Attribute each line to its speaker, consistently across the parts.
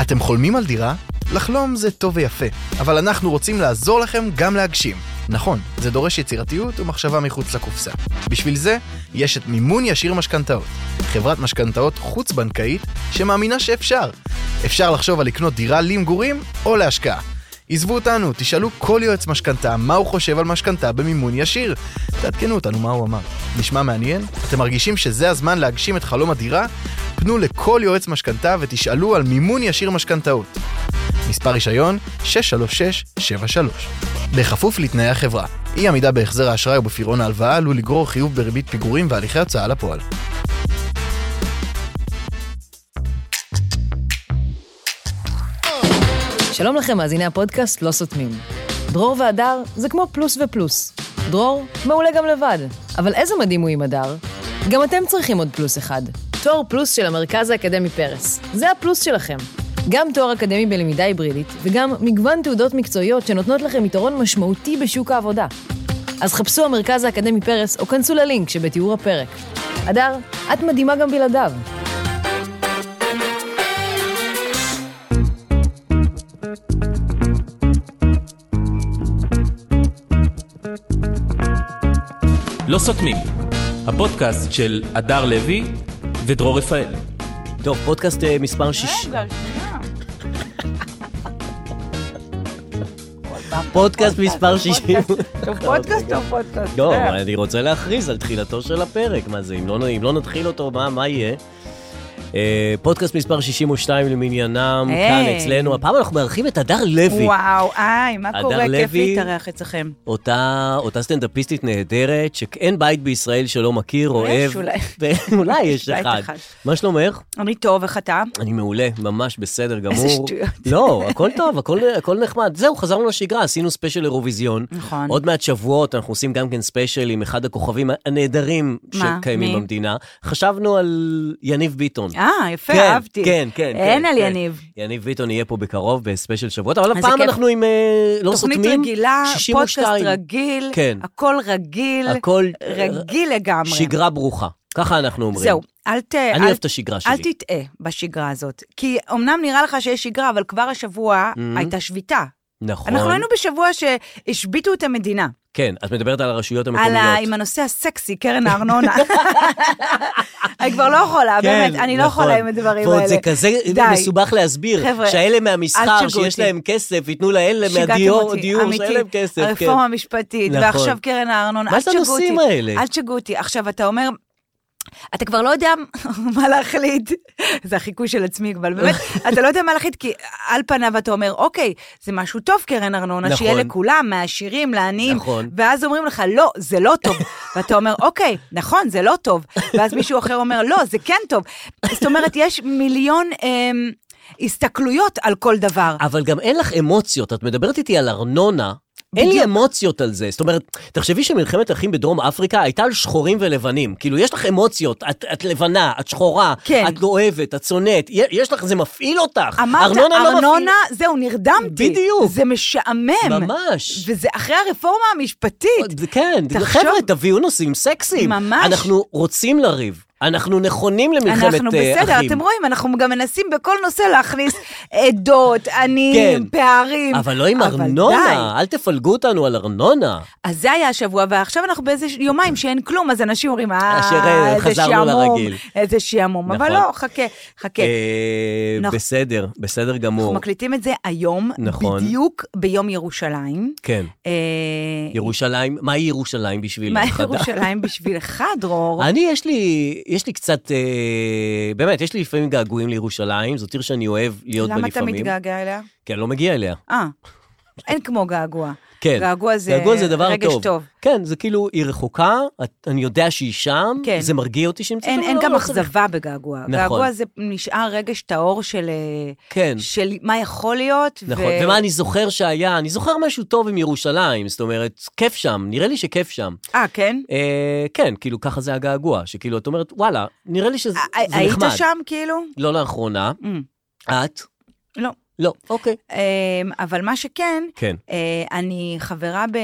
Speaker 1: אתם חולמים על דירה? לחלום זה טוב ויפה, אבל אנחנו רוצים לעזור לכם גם להגשים. נכון, זה דורש יצירתיות ומחשבה מחוץ לקופסה. בשביל זה, יש את מימון ישיר משכנתאות, חברת משכנתאות חוץ-בנקאית שמאמינה שאפשר. אפשר לחשוב על לקנות דירה למגורים או להשקעה. עזבו אותנו, תשאלו כל יועץ משכנתה מה הוא חושב על משכנתה במימון ישיר. תעדכנו אותנו מה הוא אמר. נשמע מעניין? אתם מרגישים שזה הזמן להגשים את חלום הדירה? פנו לכל יועץ משכנתה ותשאלו על מימון ישיר משכנתאות. מספר רישיון 63673. בכפוף לתנאי החברה. אי עמידה בהחזר האשראי ובפירעון ההלוואה עלול לגרור חיוב בריבית פיגורים והליכי הוצאה לפועל.
Speaker 2: שלום לכם, מאזיני הפודקאסט לא סותמים. דרור והדר זה כמו פלוס ופלוס. דרור מעולה גם לבד, אבל איזה מדהים הוא עם הדר. גם אתם צריכים עוד פלוס אחד. תואר פלוס של המרכז האקדמי פרס. זה הפלוס שלכם. גם תואר אקדמי בלמידה היברידית, וגם מגוון תעודות מקצועיות שנותנות לכם יתרון משמעותי בשוק העבודה. אז חפשו המרכז האקדמי פרס, או כנסו ללינק שבתיאור הפרק. הדר, את מדהימה גם בלעדיו.
Speaker 3: לא סותמים, הפודקאסט של הדר לוי ודרור רפאל.
Speaker 4: טוב, פודקאסט אה, מספר 6.
Speaker 5: רגע, שנייה.
Speaker 4: פודקאסט מספר 60.
Speaker 5: טוב, פודקאסט או פודקאסט?
Speaker 4: לא,
Speaker 5: אה,
Speaker 4: אבל אני רוצה להכריז על תחילתו של הפרק. מה זה, אם לא, אם לא נתחיל אותו, מה, מה יהיה? אה, פודקאסט מספר 62 למניינם,
Speaker 5: היי.
Speaker 4: כאן אצלנו. הפעם אנחנו מארחים את הדר לוי,
Speaker 5: וואו, היי, מה
Speaker 4: הדר
Speaker 5: קורה? כיף
Speaker 4: לוי.
Speaker 5: להתארח אצלכם.
Speaker 4: אותה, אותה סטנדאפיסטית נהדרת, שאין בית בישראל שלא מכיר, אוהב.
Speaker 5: יש אולי.
Speaker 4: ו- אולי יש
Speaker 5: בית
Speaker 4: אחד.
Speaker 5: אחד.
Speaker 4: מה שלומך?
Speaker 5: אני טוב, איך אתה?
Speaker 4: אני מעולה, ממש בסדר גמור.
Speaker 5: שטויות.
Speaker 4: לא, הכל טוב, הכל, הכל נחמד. זהו, חזרנו לשגרה, עשינו ספיישל אירוויזיון.
Speaker 5: נכון.
Speaker 4: עוד מעט שבועות אנחנו עושים גם כן ספיישל עם אחד הכוכבים הנהדרים
Speaker 5: מה?
Speaker 4: שקיימים
Speaker 5: מי?
Speaker 4: במדינה. חשבנו על יניב ביטון.
Speaker 5: אה, יפה,
Speaker 4: כן,
Speaker 5: אהבתי.
Speaker 4: כן, כן.
Speaker 5: אין
Speaker 4: כן,
Speaker 5: על
Speaker 4: כן.
Speaker 5: יניב.
Speaker 4: יניב ביטון יהיה פה בקרוב בספיישל שבועות, אבל
Speaker 5: איזה
Speaker 4: הפעם
Speaker 5: כיף.
Speaker 4: אנחנו עם אה, לא סותמים.
Speaker 5: תוכנית רגילה,
Speaker 4: 62.
Speaker 5: פודקאסט רגיל,
Speaker 4: כן.
Speaker 5: הכל רגיל,
Speaker 4: הכל אה,
Speaker 5: רגיל לגמרי.
Speaker 4: שגרה ברוכה, ככה אנחנו אומרים.
Speaker 5: זהו, אל ת...
Speaker 4: אני
Speaker 5: אל-
Speaker 4: אוהב את השגרה שלי.
Speaker 5: אל תטעה בשגרה הזאת. כי אמנם נראה לך שיש שגרה, אבל כבר השבוע
Speaker 4: Mhm.
Speaker 5: הייתה שביתה.
Speaker 4: נכון.
Speaker 5: אנחנו היינו בשבוע שהשביתו את המדינה.
Speaker 4: כן, את מדברת על הרשויות
Speaker 5: על ה... עם
Speaker 4: המקומיות.
Speaker 5: הנושא הסקסי, קרן הארנונה. אני כבר לא יכולה, באמת, אני לא
Speaker 4: נכון.
Speaker 5: יכולה עם הדברים
Speaker 4: ועוד
Speaker 5: האלה.
Speaker 4: זה כזה
Speaker 5: די.
Speaker 4: מסובך להסביר,
Speaker 5: חבר'ה,
Speaker 4: שהאלה
Speaker 5: אל
Speaker 4: מהמסחר
Speaker 5: תשגעו
Speaker 4: שיש
Speaker 5: אותי.
Speaker 4: להם כסף, ייתנו לאלה
Speaker 5: שיגעתם
Speaker 4: מהדיור,
Speaker 5: אותי,
Speaker 4: דיור, שאין
Speaker 5: אמיתי.
Speaker 4: להם כסף. כן.
Speaker 5: הרפורמה המשפטית,
Speaker 4: נכון.
Speaker 5: ועכשיו קרן הארנונה,
Speaker 4: מה
Speaker 5: אל
Speaker 4: זה
Speaker 5: תשגעו אותי.
Speaker 4: הנושאים האלה?
Speaker 5: אל תשגעו אותי. עכשיו, אתה אומר... אתה כבר לא יודע מה להחליט, זה החיקוי של עצמי, אבל באמת, אתה לא יודע מה להחליט, כי על פניו אתה אומר, אוקיי, זה משהו טוב, קרן ארנונה,
Speaker 4: נכון.
Speaker 5: שיהיה לכולם, מהעשירים, לעניים,
Speaker 4: נכון.
Speaker 5: ואז אומרים לך, לא, זה לא טוב. ואתה אומר, אוקיי, נכון, זה לא טוב. ואז מישהו אחר אומר, לא, זה כן טוב. זאת אומרת, יש מיליון אמ, הסתכלויות על כל דבר.
Speaker 4: אבל גם אין לך אמוציות, את מדברת איתי על ארנונה. אין לי
Speaker 5: בדיוק.
Speaker 4: אמוציות על זה, זאת אומרת, תחשבי שמלחמת האחים בדרום אפריקה הייתה על שחורים ולבנים. כאילו, יש לך אמוציות, את, את לבנה, את שחורה,
Speaker 5: כן.
Speaker 4: את לא אוהבת, את שונאת, י- יש לך, זה מפעיל אותך.
Speaker 5: אמרת,
Speaker 4: ארנונה
Speaker 5: ארנונה,
Speaker 4: לא
Speaker 5: ארנונה זהו, נרדמתי.
Speaker 4: בדיוק.
Speaker 5: זה משעמם.
Speaker 4: ממש.
Speaker 5: וזה אחרי הרפורמה המשפטית.
Speaker 4: מפעיל. כן,
Speaker 5: תחשוב-
Speaker 4: חבר'ה, תביאו נושאים סקסיים.
Speaker 5: ממש.
Speaker 4: אנחנו רוצים לריב, אנחנו נכונים למלחמת אה, אחים.
Speaker 5: אנחנו בסדר, אתם רואים, אנחנו גם מנסים בכל נושא להכניס עדות, עניים,
Speaker 4: כן.
Speaker 5: פערים.
Speaker 4: אבל לא עם
Speaker 5: די.
Speaker 4: ארנונה, אל תפלגו אותנו על ארנונה.
Speaker 5: אז זה היה השבוע, ועכשיו אנחנו באיזה ש- יומיים שאין כלום, אז אנשים אומרים,
Speaker 4: אשר,
Speaker 5: אה,
Speaker 4: אה,
Speaker 5: איזה
Speaker 4: חזרנו
Speaker 5: שעמום,
Speaker 4: לרגיל."
Speaker 5: איזה שעמום. אבל
Speaker 4: נכון.
Speaker 5: לא, חכה, חכה.
Speaker 4: אה,
Speaker 5: נכון.
Speaker 4: בסדר, בסדר
Speaker 5: אנחנו
Speaker 4: גמור.
Speaker 5: מקליטים את זה היום,
Speaker 4: נכון.
Speaker 5: בדיוק ביום ירושלים.
Speaker 4: כן.
Speaker 5: אה,
Speaker 4: ירושלים, מהי ירושלים בשבילך?
Speaker 5: מה
Speaker 4: חדה?
Speaker 5: ירושלים בשבילך, דרור?
Speaker 4: אני, יש לי, יש לי קצת, אה, באמת, יש לי לפעמים געגועים לירושלים, זאת עיר שאני אוהב להיות בה
Speaker 5: למה אתה
Speaker 4: לפעמים.
Speaker 5: מתגעגע אליה?
Speaker 4: כי אני לא מגיע אליה.
Speaker 5: אה, אין כמו געגוע.
Speaker 4: כן.
Speaker 5: געגוע זה
Speaker 4: געגוע זה דבר
Speaker 5: רגש
Speaker 4: טוב.
Speaker 5: טוב.
Speaker 4: כן, זה כאילו עיר רחוקה, את- אני יודע שהיא שם,
Speaker 5: כן.
Speaker 4: זה מרגיע אותי שהיא נמצאת
Speaker 5: אין,
Speaker 4: שם,
Speaker 5: אין
Speaker 4: לא,
Speaker 5: גם
Speaker 4: לא צריך-
Speaker 5: אכזבה בגעגוע.
Speaker 4: נכון.
Speaker 5: געגוע זה נשאר רגש טהור של, אה,
Speaker 4: כן.
Speaker 5: של מה יכול להיות.
Speaker 4: נכון, ומה אני זוכר שהיה, אני זוכר משהו טוב עם ירושלים, זאת אומרת, כיף שם, נראה לי שכיף שם.
Speaker 5: אה, כן?
Speaker 4: אה, כן, כאילו, ככה זה הגעגוע, שכאילו, את אומרת, וואלה, נראה לי שזה
Speaker 5: ה-
Speaker 4: זה
Speaker 5: אה, היית
Speaker 4: נחמד.
Speaker 5: שם כאילו?
Speaker 4: לא לאחרונה.
Speaker 5: Mm,
Speaker 4: את?
Speaker 5: לא.
Speaker 4: לא, אוקיי.
Speaker 5: אה, אבל מה שכן,
Speaker 4: כן.
Speaker 5: אה, אני חברה ב...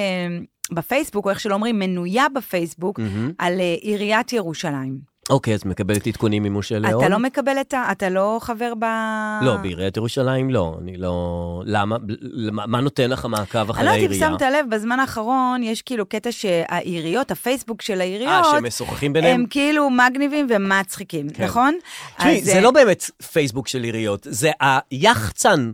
Speaker 5: בפייסבוק, או איך שלא אומרים, מנויה בפייסבוק,
Speaker 4: מהמם.
Speaker 5: על אה, עיריית ירושלים.
Speaker 4: אוקיי, אז מקבלת עדכונים ממשה ליאון?
Speaker 5: אתה לא מקבל את ה... אתה לא חבר ב...
Speaker 4: לא, בעיריית ירושלים לא, אני לא... למה? ב- למה- מה נותן לך המעקב
Speaker 5: אני
Speaker 4: אחרי
Speaker 5: לא יודעת
Speaker 4: העירייה?
Speaker 5: אם שמת לב, בזמן האחרון יש כאילו קטע שהעיריות, הפייסבוק של
Speaker 4: אה,
Speaker 5: העיריות,
Speaker 4: שהם משוחחים ביניהם?
Speaker 5: הם כאילו מגניבים ומצחיקים,
Speaker 4: כן.
Speaker 5: נכון?
Speaker 4: תשמעי,
Speaker 5: אז,
Speaker 4: זה
Speaker 5: אה,
Speaker 4: לא באמת פייסבוק של עיריות, זה היחצן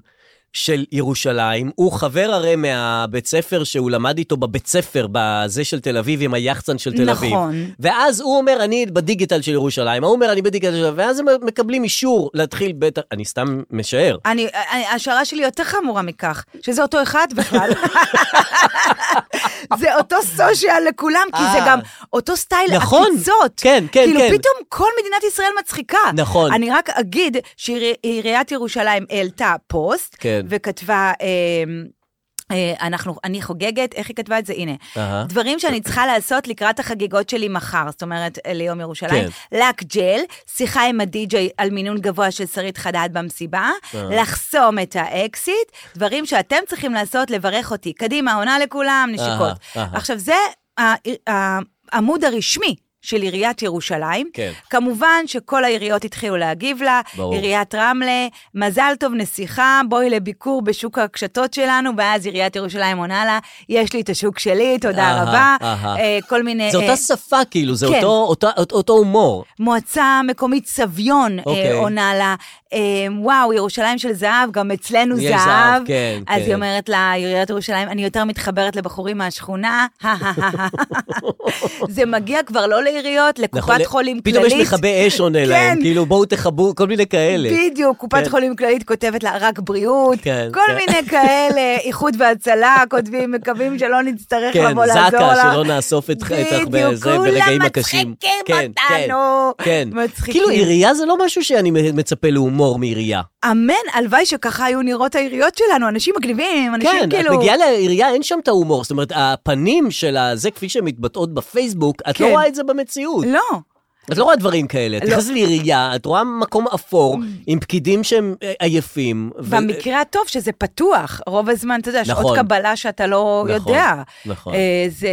Speaker 4: של ירושלים. הוא חבר הרי מהבית ספר שהוא למד איתו בבית ספר, בזה של תל אביב, עם היחצן של תל אביב.
Speaker 5: נכון.
Speaker 4: ואז הוא אומר, אני בדיגיטל של ירושלים, ההוא אומר, אני בדיגיטל של... ואז הם מקבלים אישור להתחיל בית... אני סתם משער.
Speaker 5: אני, אני- ההשערה שלי יותר חמורה מכך, שזה אותו אחד בכלל. זה אותו סושיאל לכולם, כי זה
Speaker 4: אה.
Speaker 5: גם אותו סטייל
Speaker 4: נכון.
Speaker 5: עקיצות.
Speaker 4: כן, כן,
Speaker 5: כאילו
Speaker 4: כן.
Speaker 5: פתאום כל מדינת ישראל מצחיקה.
Speaker 4: נכון.
Speaker 5: אני רק אגיד שעיריית ירושלים העלתה פוסט,
Speaker 4: כן.
Speaker 5: וכתבה... אה, אה, אנחנו, אני חוגגת, איך היא כתבה את זה? הנה.
Speaker 4: אהה.
Speaker 5: דברים שאני צריכה לעשות לקראת החגיגות שלי מחר, זאת אומרת, אה, ליום ירושלים.
Speaker 4: כן.
Speaker 5: לק ג'ל, שיחה עם הדי-ג'יי על מינון גבוה של שרית חדד במסיבה,
Speaker 4: אה.
Speaker 5: לחסום את האקסיט, דברים שאתם צריכים לעשות, לברך אותי. קדימה, עונה לכולם, נשיקות.
Speaker 4: אהה, אהה.
Speaker 5: עכשיו, זה ה- ה- העמוד הרשמי. של עיריית ירושלים.
Speaker 4: כן.
Speaker 5: כמובן שכל העיריות התחילו להגיב לה.
Speaker 4: ברור.
Speaker 5: עיריית רמלה, מזל טוב, נסיכה, בואי לביקור בשוק הקשתות שלנו, ואז עיריית ירושלים עונה לה, יש לי את השוק שלי, תודה
Speaker 4: אהה,
Speaker 5: רבה.
Speaker 4: אהה.
Speaker 5: אה, כל מיני...
Speaker 4: זה
Speaker 5: אה,
Speaker 4: אותה שפה, כאילו, זה
Speaker 5: כן.
Speaker 4: אותו- אותה- אותו הומור.
Speaker 5: מועצה מקומית סביון
Speaker 4: אוקיי.
Speaker 5: אה, עונה לה, אה, וואו, ירושלים של זהב, גם אצלנו
Speaker 4: יש
Speaker 5: זהב.
Speaker 4: זהב, כן,
Speaker 5: אז
Speaker 4: כן.
Speaker 5: היא אומרת לה, עיריית ירושלים, אני יותר מתחברת לבחורים מהשכונה, זה מגיע כבר לא לעיריות, לקופת
Speaker 4: נכון,
Speaker 5: חולים כללית.
Speaker 4: פתאום יש מכבי אש עונה
Speaker 5: כן.
Speaker 4: להם, כאילו, בואו תכבו, כל מיני כאלה.
Speaker 5: בדיוק, קופת
Speaker 4: כן.
Speaker 5: חולים כללית כותבת לה רק בריאות,
Speaker 4: כן,
Speaker 5: כל
Speaker 4: כן.
Speaker 5: מיני כאלה, איחוד והצלה, כותבים, מקווים שלא נצטרך
Speaker 4: כן,
Speaker 5: לבוא לעזור
Speaker 4: זק"א,
Speaker 5: לה.
Speaker 4: שלא נאסוף אתך אתך בזה, ברגעים הקשים.
Speaker 5: בדיוק, כולם
Speaker 4: כן, כן,
Speaker 5: מצחיקים אותנו.
Speaker 4: כן.
Speaker 5: מצחיקים.
Speaker 4: כאילו, עירייה זה לא משהו שאני מצפה להומור מעירייה.
Speaker 5: אמן, הלוואי שככה היו נראות העיריות שלנו, אנשים מגניבים, אנשים
Speaker 4: כן,
Speaker 5: כאילו...
Speaker 4: את מגיעה לעירייה, אין שם את ההומור. זאת אומרת, הפנים של הזה, כפי שהן מתבטאות בפייסבוק, את לא
Speaker 5: כן.
Speaker 4: רואה את זה במציאות.
Speaker 5: לא.
Speaker 4: את לא רואה דברים כאלה. את
Speaker 5: לא. Mm.
Speaker 4: נכנסת לעירייה, את רואה מקום אפור, עם פקידים שהם אה, עייפים. ו-
Speaker 5: במקרה הטוב שזה פתוח, רוב הזמן, אתה יודע, יש
Speaker 4: נכון.
Speaker 5: עוד קבלה שאתה לא
Speaker 4: נכון,
Speaker 5: יודע.
Speaker 4: נכון.
Speaker 5: אה, זה,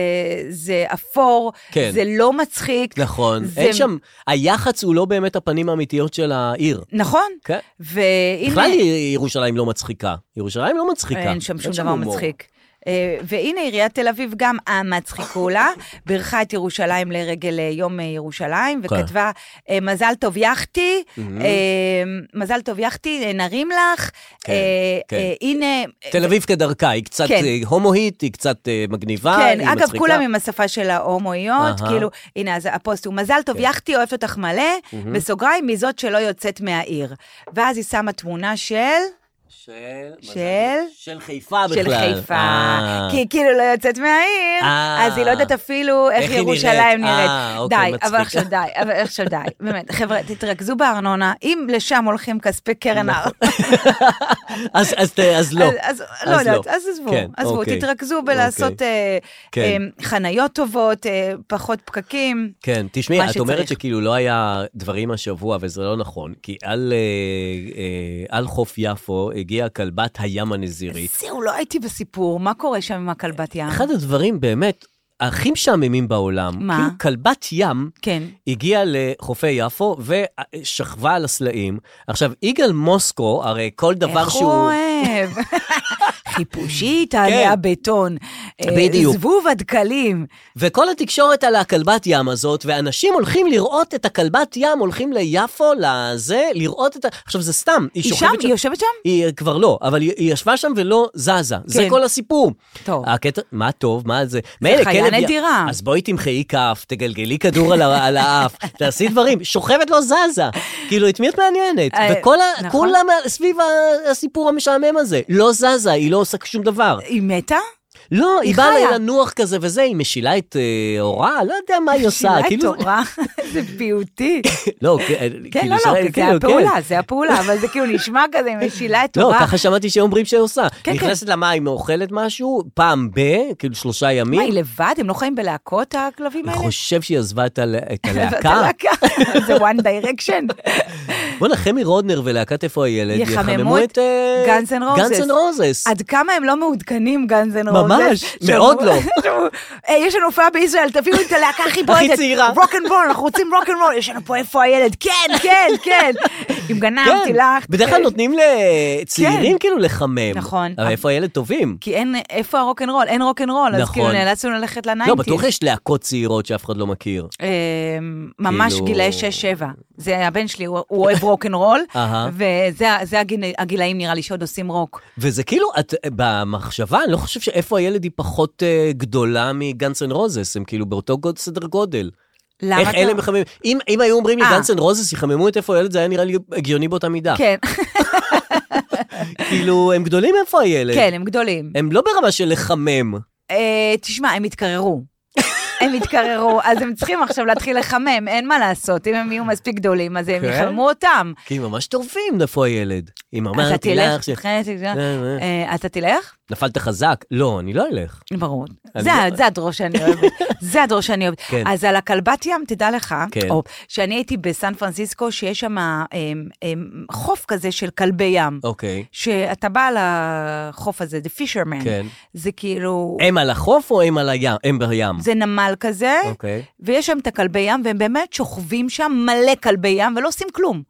Speaker 5: זה אפור,
Speaker 4: כן.
Speaker 5: זה לא מצחיק.
Speaker 4: נכון.
Speaker 5: זה-
Speaker 4: אין שם, היח"צ הוא לא באמת הפנים האמיתיות של העיר.
Speaker 5: נכון.
Speaker 4: כן.
Speaker 5: והנה...
Speaker 4: בכלל ירושלים לא מצחיקה. ירושלים לא מצחיקה.
Speaker 5: אין שם שום דבר
Speaker 4: הומור.
Speaker 5: מצחיק. אה, והנה עיריית תל אביב גם אמץ חיכו לה, בירכה את ירושלים לרגל אה, יום אה, ירושלים,
Speaker 4: כן. Mm-hmm.
Speaker 5: וכתבה, אה, מזל טוב יחתי, אה, מזל טוב יחתי, אה, נרים לך,
Speaker 4: כן,
Speaker 5: אה,
Speaker 4: כן.
Speaker 5: אה, הנה...
Speaker 4: תל אביב כדרכה, היא קצת
Speaker 5: כן.
Speaker 4: אה, הומואית, היא קצת אה, מגניבה,
Speaker 5: כן,
Speaker 4: היא
Speaker 5: אגב,
Speaker 4: מצחיקה.
Speaker 5: כולם עם השפה של ההומואיות,
Speaker 4: אהה. כן.
Speaker 5: כאילו, הנה, אז הפוסט הוא, מזל טוב, יחתי אוהבת אותך מלא,
Speaker 4: Mm-hmm.
Speaker 5: בסוגריים, מזאת שלא יוצאת מהעיר. ואז היא שמה תמונה של... של?
Speaker 4: של חיפה בכלל.
Speaker 5: של חיפה,
Speaker 4: אה.
Speaker 5: כי היא כאילו לא יוצאת מהעיר,
Speaker 4: אה.
Speaker 5: אז היא לא יודעת אפילו
Speaker 4: איך
Speaker 5: איך
Speaker 4: היא
Speaker 5: ירושלים
Speaker 4: נראית.
Speaker 5: נראית.
Speaker 4: אה, אוקיי,
Speaker 5: די,
Speaker 4: מצחיק.
Speaker 5: אבל עכשיו די, אבל עכשיו די, באמת. חבר'ה, תתרכזו בארנונה, אם לשם הולכים כספי קרן הארנונה,
Speaker 4: אז, אז, ת- נכון. אז לא.
Speaker 5: אז לא יודעת, אז עזבו,
Speaker 4: כן,
Speaker 5: עזבו,
Speaker 4: אוקיי,
Speaker 5: תתרכזו
Speaker 4: אוקיי.
Speaker 5: בלעשות אה,
Speaker 4: כן.
Speaker 5: אה, חניות טובות, אה, פחות פקקים.
Speaker 4: כן, תשמעי,
Speaker 5: מה
Speaker 4: את אומרת
Speaker 5: שצריך.
Speaker 4: שכאילו לא היה דברים השבוע, וזה לא נכון, כי על, אה, אה, על חוף יפו הגיעה כלבת הים הנזירית.
Speaker 5: זהו, לא הייתי בסיפור, מה קורה שם עם הכלבת ים?
Speaker 4: אוקיי. אחד הדברים באמת הכי משעממים בעולם,
Speaker 5: מה?
Speaker 4: כאילו כלבת ים
Speaker 5: כן.
Speaker 4: הגיעה לחופי יפו ושכבה על הסלעים. עכשיו, יגאל מוסקו, הרי כל דבר
Speaker 5: איך
Speaker 4: שהוא...
Speaker 5: הוא אוהב. חיפושית עליה בטון. אה,
Speaker 4: כן. בדיוק.
Speaker 5: זבוב הדקלים.
Speaker 4: וכל התקשורת על הכלבת ים הזאת, ואנשים הולכים לראות את הכלבת ים, הולכים ליפו, לזה, לראות את ה... עכשיו, זה סתם, היא
Speaker 5: היא
Speaker 4: שוכבת
Speaker 5: שם? היא יושבת שם?
Speaker 4: היא אה, כבר לא, אבל היא, היא ישבה שם ולא זזה. כן. זה
Speaker 5: כן.
Speaker 4: כל הסיפור.
Speaker 5: טוב.
Speaker 4: הקטע, מה טוב, מה זה? מילא,
Speaker 5: חיה
Speaker 4: כלב י-
Speaker 5: נדירה.
Speaker 4: אז בואי תמחאי כף, תגלגלי כדור על, ה- על האף, תעשי דברים. שוכבת לא זזה. כאילו, את מי את מעניינת?
Speaker 5: אה,
Speaker 4: וכל ה...
Speaker 5: נכון.
Speaker 4: כולם סביב ה- הסיפור המשעמם הזה. לא זזה, היא לא עושה שום דבר.
Speaker 5: היא מתה?
Speaker 4: לא, היא
Speaker 5: היא
Speaker 4: באה
Speaker 5: חיה.
Speaker 4: לה לנוח כזה וזה, היא משילה את אה, הורה, לא יודע מה היא עושה.
Speaker 5: שילה
Speaker 4: כאילו-
Speaker 5: תורה? זה פיוטי.
Speaker 4: לא, כאילו,
Speaker 5: כן, לא,
Speaker 4: ישראל,
Speaker 5: לא, זה
Speaker 4: כאילו, כן.
Speaker 5: הפעולה, זה הפעולה, אבל זה כאילו נשמע כזה, היא משילה את
Speaker 4: לא,
Speaker 5: תורה.
Speaker 4: ככה שמעתי שאומרים שהיא עושה.
Speaker 5: כן,
Speaker 4: נכנסת למים, אוכלת משהו, פעם ב, כאילו שלושה ימים.
Speaker 5: מה, היא לבד? הם לא חיים בלהקות, הכלבים
Speaker 4: אני
Speaker 5: האלה?
Speaker 4: חושב שהיא עזבה את הל- את
Speaker 5: זאת
Speaker 4: הלהקה.
Speaker 5: הלהקה. זה one direction.
Speaker 4: בואנה, חמי רודנר ולהקת איפה הילד
Speaker 5: יחממו
Speaker 4: יחממו
Speaker 5: את
Speaker 4: את אה,
Speaker 5: Guns N' Roses.
Speaker 4: Guns N' Roses.
Speaker 5: עד כמה הם לא מעודכנים, גאנז אנד רוזס.
Speaker 4: ממש, ממש, מאוד לא.
Speaker 5: אה, יש לנו הופעה בישראל, תביאו את הלהקה הכי בועטת.
Speaker 4: צעירה.
Speaker 5: רול, אנחנו רוצים רוק אנד רול. יש לנו פה איפה הילד, כן, כן, כן. אם גנבתי
Speaker 4: כן,
Speaker 5: לך.
Speaker 4: בדרך כלל נותנים לצעירים כאילו לחמם.
Speaker 5: כן. נכון.
Speaker 4: אבל איפה הילד טובים?
Speaker 5: כי אין, איפה הרוק אנד רול? אין רוק אנד רול, אז
Speaker 4: נכון.
Speaker 5: כאילו נאלצנו ללכת
Speaker 4: לא,
Speaker 5: לניינטיז.
Speaker 4: בטוח יש להקות צעירות שאף אחד לא מכיר.
Speaker 5: אה, ממש
Speaker 4: כאילו-
Speaker 5: גילאי 6-7. זה הבן שלי, הוא הוא אוהב רוק אנד רול,
Speaker 4: אהה.
Speaker 5: וזה ה- זה הגיל- הגילאים נראה לי שעוד עושים רוק.
Speaker 4: וזה כאילו, את, במחשבה, אני לא חושב שאיפה הילד היא פחות אה, גדולה מגאנס אנד רוזס, הם כאילו באותו גוד, סדר גודל.
Speaker 5: למה
Speaker 4: איך
Speaker 5: אתה-
Speaker 4: אלה מחממים? אם, אם היו אומרים לי
Speaker 5: אה.
Speaker 4: גאנס אנד רוזס יחממו את איפה הילד, זה היה נראה לי הגיוני באותה מידה.
Speaker 5: כן,
Speaker 4: כאילו, הם גדולים איפה הילד.
Speaker 5: כן, הם גדולים.
Speaker 4: הם לא ברמה של לחמם.
Speaker 5: אה, תשמע, הם התקררו. הם התקררו, אז הם צריכים עכשיו להתחיל לחמם, אין מה לעשות. אם הם יהיו מספיק גדולים, אז הם
Speaker 4: כן?
Speaker 5: יחלמו אותם.
Speaker 4: כי הם ממש טורפים איפה הילד. אם
Speaker 5: אתה
Speaker 4: אמרתי לך
Speaker 5: תלך,
Speaker 4: ש...
Speaker 5: כן, תלך.
Speaker 4: אה, אה.
Speaker 5: אה, אתה תלך?
Speaker 4: נפלת חזק? לא, אני לא אלך.
Speaker 5: ברור.
Speaker 4: אני
Speaker 5: זה
Speaker 4: לא-
Speaker 5: ה- זה הדרור שאני אוהבת. זה הדרור שאני אוהבת.
Speaker 4: כן.
Speaker 5: אז על הכלבת ים, תדע לך,
Speaker 4: כן.
Speaker 5: או, שאני הייתי בסן פרנסיסקו, שיש שם אמ, אמ, חוף כזה של כלבי ים.
Speaker 4: אוקיי.
Speaker 5: שאתה בא לחוף הזה, The Fisherman.
Speaker 4: כן.
Speaker 5: זה כאילו...
Speaker 4: הם על החוף או הם על הים? הם בים.
Speaker 5: זה נמל כזה,
Speaker 4: אוקיי.
Speaker 5: ויש שם את הכלבי ים, והם באמת שוכבים שם מלא כלבי ים, ולא עושים כלום.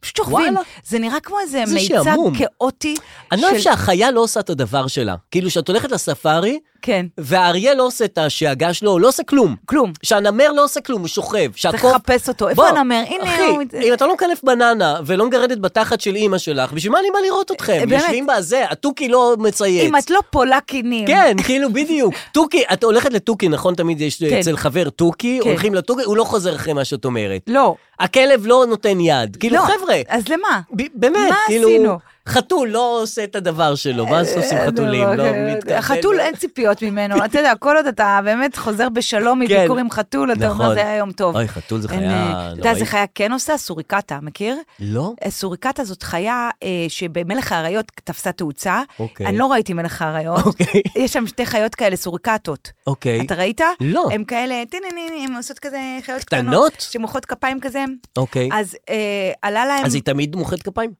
Speaker 5: פשוט שוכבים.
Speaker 4: וואלה.
Speaker 5: זה נראה כמו איזה
Speaker 4: זה
Speaker 5: מיצג
Speaker 4: שעמום.
Speaker 5: כאוטי.
Speaker 4: אני לא אוהב שהחיה לא עושה את הדבר שלה. כאילו, כשאת הולכת לספארי,
Speaker 5: כן,
Speaker 4: והאריה לא עושה את השאגה שלו, הוא לא עושה כלום.
Speaker 5: כלום.
Speaker 4: שהנמר לא עושה כלום, הוא שוכב.
Speaker 5: צריך
Speaker 4: שהקוף...
Speaker 5: לחפש אותו.
Speaker 4: בוא,
Speaker 5: איפה הנמר? הנה הוא...
Speaker 4: אחי, אם אתה לא מקלף בננה ולא מגרדת בתחת של אימא שלך, בשביל מה אני בא לראות אתכם?
Speaker 5: אה, באמת.
Speaker 4: יושבים בזה, התוכי לא מצייץ.
Speaker 5: אם את לא פולה קינים.
Speaker 4: כן, כאילו, בדיוק. תוכי, את הולכת לתוכי, נכון? תמיד יש
Speaker 5: כן.
Speaker 4: אצל חבר תוכי,
Speaker 5: כן.
Speaker 4: הולכים לתוכי, הוא לא חוזר אחרי מה שאת אומרת.
Speaker 5: לא.
Speaker 4: הכלב לא נותן יד. כאילו,
Speaker 5: לא.
Speaker 4: חבר'ה,
Speaker 5: אז למה?
Speaker 4: ב- באמת,
Speaker 5: מה
Speaker 4: כאילו,
Speaker 5: עשינו? אה,
Speaker 4: חתול לא עושה את הדבר שלו, מה עושים חתולים? לא מתקלקל.
Speaker 5: החתול אה, אין ציפיות ממנו, אתה יודע, כל עוד אתה באמת חוזר בשלום
Speaker 4: כן.
Speaker 5: מביקור עם חתול, אתה אומר,
Speaker 4: נכון.
Speaker 5: זה היה יום טוב.
Speaker 4: אוי, חתול זה
Speaker 5: אין,
Speaker 4: חיה
Speaker 5: אה, אתה יודע
Speaker 4: נוראית.
Speaker 5: איזה חיה כן עושה? סוריקטה, מכיר?
Speaker 4: לא?
Speaker 5: אה, סוריקטה זאת חיה אה, שבמלך האריות תפסה תאוצה.
Speaker 4: אוקיי.
Speaker 5: אני לא ראיתי מלך האריות.
Speaker 4: אוקיי.
Speaker 5: יש שם שתי חיות כאלה, סוריקטות.
Speaker 4: אוקיי.
Speaker 5: אתה ראית?
Speaker 4: לא.
Speaker 5: הן כאלה, טינניני, הן עושות כזה חיות
Speaker 4: קטנות?
Speaker 5: קטנות. שמוחאות כפיים כזה.
Speaker 4: אוקיי.
Speaker 5: אז אה, עלה להם...
Speaker 4: אז היא תמיד מוחאת כפיים?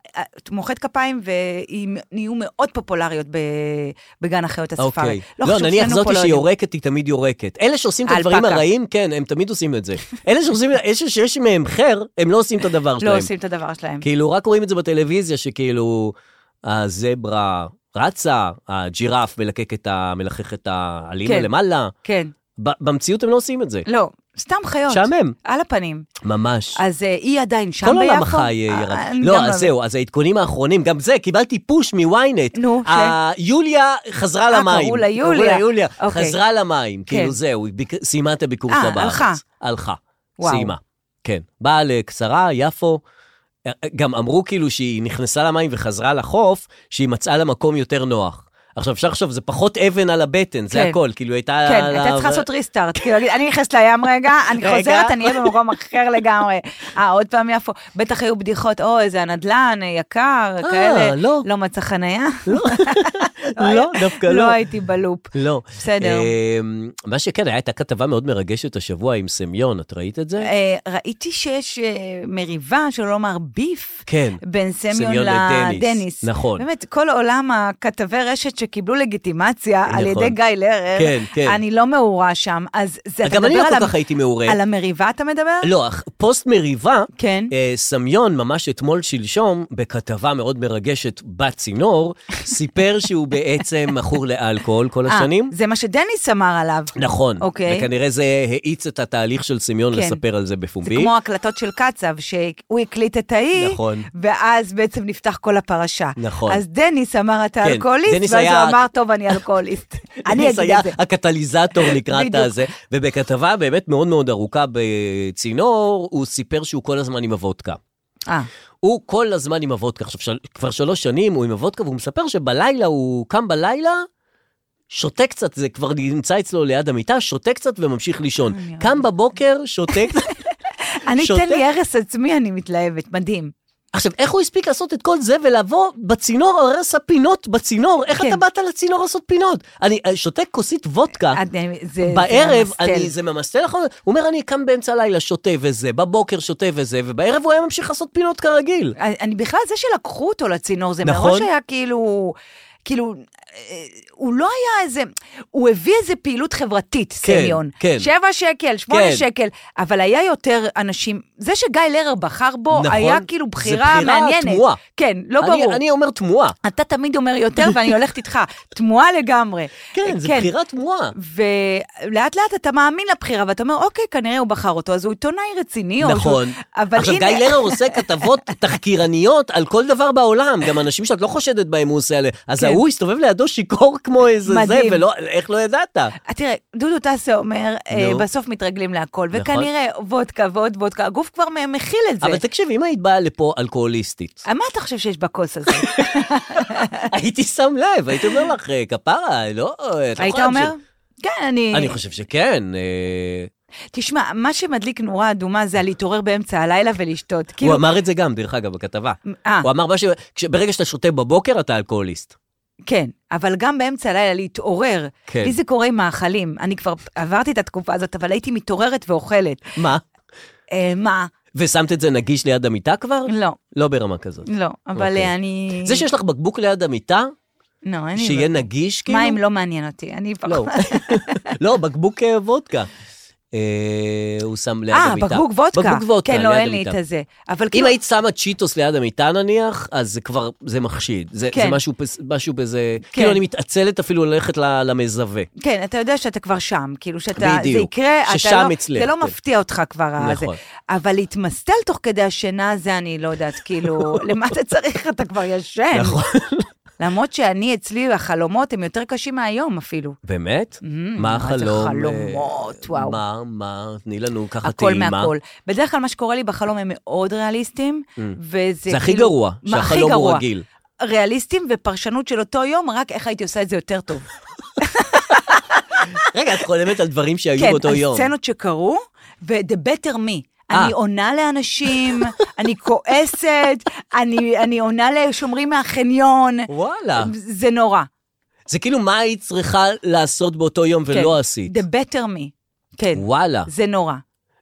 Speaker 5: מוחאת כפיים, והן נהיו מאוד פופולריות ב- בגן החיות הספארי.
Speaker 4: אוקיי. לא,
Speaker 5: חשוב,
Speaker 4: נניח
Speaker 5: שנינו
Speaker 4: זאתי
Speaker 5: פה לא
Speaker 4: שהיא
Speaker 5: יודעים.
Speaker 4: יורקת, היא תמיד יורקת. אלה שעושים את הדברים
Speaker 5: האלפקה.
Speaker 4: הרעים, כן, הם תמיד עושים את זה. אלה שעושים, אלה שיש מהם חר, הם לא עושים את הדבר שלהם.
Speaker 5: לא עושים את הדבר שלהם.
Speaker 4: כאילו, רק רואים את זה בטלוויזיה, שכאילו, הזברה רצה, הג'ירף מלקק את ה... מלחך את העלימה
Speaker 5: כן.
Speaker 4: למעלה.
Speaker 5: כן.
Speaker 4: ב- במציאות הם לא עושים את זה.
Speaker 5: לא, סתם חיות.
Speaker 4: משעמם.
Speaker 5: על הפנים.
Speaker 4: ממש.
Speaker 5: אז אה, היא עדיין שם
Speaker 4: כל
Speaker 5: ביפו.
Speaker 4: עולם החי אה, ירד.
Speaker 5: אה, אני
Speaker 4: לא,
Speaker 5: גם
Speaker 4: אז זהו, אז העדכונים האחרונים, גם זה, קיבלתי פוש מ-ynet.
Speaker 5: נו, ש?
Speaker 4: ה- יוליה חזרה
Speaker 5: אה,
Speaker 4: למים.
Speaker 5: קראו לה יוליה.
Speaker 4: יוליה.
Speaker 5: אוקיי.
Speaker 4: חזרה למים, כאילו
Speaker 5: כן.
Speaker 4: זהו, היא ביק- סיימה את הביקור
Speaker 5: אה,
Speaker 4: שלה בארץ.
Speaker 5: הלכה.
Speaker 4: הלכה.
Speaker 5: וואו.
Speaker 4: סיימה. כן. באה לקצרה, יפו. אה, אה, גם אמרו כאילו שהיא נכנסה למים וחזרה לחוף, שהיא מצאה לה מקום יותר נוח. עכשיו, אפשר לחשוב, זה פחות אבן על הבטן, זה
Speaker 5: כן.
Speaker 4: הכל. כאילו, היא הייתה...
Speaker 5: כן,
Speaker 4: על
Speaker 5: הייתה
Speaker 4: ה-
Speaker 5: צריכה לעשות ריסטארט, כאילו, להגיד, אני נכנסת לים רגע, אני
Speaker 4: רגע.
Speaker 5: חוזרת, אני אהיה במקום אחר לגמרי. אה, עוד פעם יפו. בטח היו בדיחות, או, איזה הנדלן, אה, יקר,
Speaker 4: אה,
Speaker 5: כאלה.
Speaker 4: לא.
Speaker 5: לא מצא חנייה.
Speaker 4: לא, דווקא לא.
Speaker 5: לא הייתי בלופ.
Speaker 4: לא.
Speaker 5: בסדר.
Speaker 4: אמ, מה שכן, הייתה כתבה מאוד מרגשת השבוע עם סמיון, את ראית את זה?
Speaker 5: אה, ראיתי שיש אה, מריבה, שלא לומר ביף.
Speaker 4: כן.
Speaker 5: בין סמיון
Speaker 4: סמיון לדניס.
Speaker 5: לדניס.
Speaker 4: נכון.
Speaker 5: באמת, כל עולם הכתבי רשת שקיבלו לגיטימציה
Speaker 4: נכון.
Speaker 5: על ידי גיא לרר,
Speaker 4: כן, כן.
Speaker 5: אני לא מעורה שם, אז זה, אתה
Speaker 4: גם אני
Speaker 5: מדבר
Speaker 4: לא
Speaker 5: על
Speaker 4: כל
Speaker 5: המ-
Speaker 4: כך הייתי מעורה.
Speaker 5: על המריבה אתה מדבר?
Speaker 4: לא, אך פוסט מריבה,
Speaker 5: כן.
Speaker 4: אה, סמיון ממש אתמול שלשום, בכתבה מאוד מרגשת בצינור, סיפר שהוא בעצם מכור לאלכוהול כל
Speaker 5: אה,
Speaker 4: השנים.
Speaker 5: זה מה שדניס אמר עליו.
Speaker 4: נכון.
Speaker 5: אוקיי.
Speaker 4: וכנראה זה האיץ את התהליך של סמיון
Speaker 5: כן.
Speaker 4: לספר על זה
Speaker 5: זה
Speaker 4: בפומבי.
Speaker 5: כמו הקלטות של קצב, שהוא הקליט את ההיא,
Speaker 4: נכון.
Speaker 5: ואז בעצם נפתח כל הפרשה.
Speaker 4: נכון.
Speaker 5: אז דניס אמר, אתה
Speaker 4: כן,
Speaker 5: אלכוהוליסט,
Speaker 4: דניס
Speaker 5: ואז
Speaker 4: היה-
Speaker 5: הוא אמר, טוב, אני אלכוהוליסט. אני
Speaker 4: ניס
Speaker 5: אגיד
Speaker 4: היה
Speaker 5: את זה.
Speaker 4: הקטליזטור לקראת
Speaker 5: בדיוק.
Speaker 4: הזה. ובכתבה באמת מאוד מאוד ארוכה בצינור, הוא סיפר שהוא כל הזמן עם הוודקה.
Speaker 5: אה,
Speaker 4: הוא כל הזמן עם הוודקה. עכשיו, של... כבר שלוש שנים הוא עם הוודקה, והוא מספר שבלילה, הוא קם בלילה, שותה קצת, זה כבר נמצא אצלו ליד המיטה, שותה קצת וממשיך לישון.
Speaker 5: אני
Speaker 4: קם בבוקר, שותה קצת.
Speaker 5: אני,
Speaker 4: שותה-
Speaker 5: תן לי הרס עצמי, אני מתלהבת, מדהים.
Speaker 4: עכשיו, איך הוא הספיק לעשות את כל זה ולבוא בצינור, הרי עשה פינות בצינור? איך
Speaker 5: כן.
Speaker 4: אתה באת לצינור לעשות פינות? אני אה, שותה כוסית וודקה.
Speaker 5: אני- זה- זה
Speaker 4: אה? בערב,
Speaker 5: ממסטל.
Speaker 4: אני, זה ממסטל נכון, הוא אומר, אני קם באמצע הלילה, שותה וזה, בבוקר שותה וזה, ובערב הוא היה ממשיך לעשות פינות כרגיל.
Speaker 5: אני בכלל, זה שלקחו אותו לצינור, זה
Speaker 4: נכון.
Speaker 5: מראש היה כאילו... כאילו, אה, הוא לא היה איזה, הוא הביא איזה פעילות חברתית, סמיון.
Speaker 4: כן.
Speaker 5: שבע שקל, שמונה
Speaker 4: כן.
Speaker 5: שקל, אבל היה יותר אנשים, זה שגיא לרר בחר בו,
Speaker 4: נכון.
Speaker 5: היה
Speaker 4: זה
Speaker 5: כאילו בחירה
Speaker 4: בחירה
Speaker 5: מעניינת.
Speaker 4: תמוהה.
Speaker 5: כן, לא
Speaker 4: אני-
Speaker 5: ברור.
Speaker 4: אני אומר תמוהה.
Speaker 5: אתה תמיד אומר יותר, ואני הולכת איתך, תמוהה לגמרי.
Speaker 4: כן, זו בחירה תמוהה.
Speaker 5: ולאט לאט אתה מאמין לבחירה, ואתה אומר, אוקיי, כנראה הוא בחר אותו, אז הוא עיתונאי רציני. או
Speaker 4: נכון.
Speaker 5: שהוא- אבל
Speaker 4: עכשיו,
Speaker 5: הנה-
Speaker 4: גיא לרר עושה כתבות תחקירניות על כל דבר בעולם, גם אנשים שאת לא חושדת בהם הוא עושה עליהם. אז
Speaker 5: כן.
Speaker 4: ההוא הסתובב לידו שיכור כמו איזה זה,
Speaker 5: מדהים.
Speaker 4: ולא, איך לא ידעת?
Speaker 5: אה, תראה, דודו טסה אומר, אה,
Speaker 4: נו.
Speaker 5: בסוף מתרגלים להכל,
Speaker 4: נכון.
Speaker 5: וכנראה וודקה ועוד וודקה, הגוף כבר מ- מכיל את זה.
Speaker 4: אבל תקשיב, אם היית באה לפה אלכוהוליסטית,
Speaker 5: אה, מה אתה חושב שיש בכוס הזה? אה.
Speaker 4: הייתי שם לב, הייתי אומר לך, "אה, כפרה, לא... את לא
Speaker 5: היית
Speaker 4: יכולה
Speaker 5: אומר?
Speaker 4: להמשיך."
Speaker 5: כן, אני...
Speaker 4: אני חושב שכן. אה,
Speaker 5: תשמע, מה שמדליק נורה אדומה זה על להתעורר באמצע הלילה ולשתות. כאילו,
Speaker 4: הוא אמר את זה גם, דרך אגב, בכתבה.
Speaker 5: אה,
Speaker 4: הוא אמר, משהו- כש- ברגע שאתה שותה בבוקר, אתה אלכוהוליסט.
Speaker 5: כן, אבל גם באמצע הלילה להתעורר.
Speaker 4: כן.
Speaker 5: לי זה קורה עם מאכלים. אני כבר עברתי את התקופה הזאת, אבל הייתי מתעוררת ואוכלת.
Speaker 4: מה?
Speaker 5: אה, מה?
Speaker 4: ושמת את זה נגיש ליד המיטה כבר?
Speaker 5: לא,
Speaker 4: לא ברמה כזאת.
Speaker 5: לא, אבל
Speaker 4: אוקיי.
Speaker 5: אה, אני...
Speaker 4: זה שיש לך בקבוק ליד המיטה,
Speaker 5: לא, אין לי...
Speaker 4: שיהיה נגיש כאילו?
Speaker 5: מים לא מעניין אותי, אני
Speaker 4: לא.
Speaker 5: פחות...
Speaker 4: לא, בקבוק אה, וודקה. אה, הוא שם ליד
Speaker 5: אה,
Speaker 4: המיטה.
Speaker 5: בקבוק וודקה.
Speaker 4: בקבוק וודקה,
Speaker 5: כן, לא,
Speaker 4: ליד
Speaker 5: אין לי
Speaker 4: המיטה.
Speaker 5: את הזה. אבל
Speaker 4: אם
Speaker 5: כאילו...
Speaker 4: היית שמה צ'יטוס ליד המיטה נניח, אז זה כבר, זה מחשיד. זה
Speaker 5: כן.
Speaker 4: זה משהו בז- משהו בזה,
Speaker 5: כן.
Speaker 4: כאילו אני מתעצלת אפילו ללכת ל- למזווה.
Speaker 5: כן, אתה יודע שאתה כבר שם, כאילו שאתה, זה
Speaker 4: בדיוק.
Speaker 5: יקרה, אתה
Speaker 4: ששם
Speaker 5: לא-
Speaker 4: אצלך,
Speaker 5: זה
Speaker 4: כן.
Speaker 5: לא מפתיע אותך כבר, הזה.
Speaker 4: נכון.
Speaker 5: אבל להתמסטל תוך כדי השינה, זה אני לא יודעת, כאילו, למה אתה צריך? אתה כבר ישן.
Speaker 4: נכון.
Speaker 5: למרות שאני, אצלי, החלומות הם יותר קשים מהיום אפילו.
Speaker 4: באמת? מה
Speaker 5: Mm, מה זה
Speaker 4: החלום? אה,
Speaker 5: חלומות, וואו.
Speaker 4: מה, מה, תני לנו ככה
Speaker 5: הכל
Speaker 4: טעימה.
Speaker 5: מהכל. בדרך כלל מה שקורה לי בחלום הם מאוד ריאליסטים, וזה
Speaker 4: Mm. זה הכי
Speaker 5: כאילו-
Speaker 4: גרוע,
Speaker 5: מה, הכי
Speaker 4: שהחלום הוא
Speaker 5: גרוע?
Speaker 4: רגיל.
Speaker 5: ריאליסטים ופרשנות של אותו יום, רק איך הייתי עושה את זה יותר טוב.
Speaker 4: כאילו רגע, את חולמת על דברים שהיו
Speaker 5: כן,
Speaker 4: באותו יום.
Speaker 5: הסצנות שקרו, ו-The Better Me.
Speaker 4: אה.
Speaker 5: אני עונה לאנשים, אני כועסת, אני, אני עונה לשומרים מהחניון,
Speaker 4: וואלה.
Speaker 5: זה נורא.
Speaker 4: זה כאילו מה היית צריכה לעשות באותו יום ולא
Speaker 5: כן.
Speaker 4: עשית.
Speaker 5: The Better Me, כן,
Speaker 4: וואלה.
Speaker 5: זה נורא.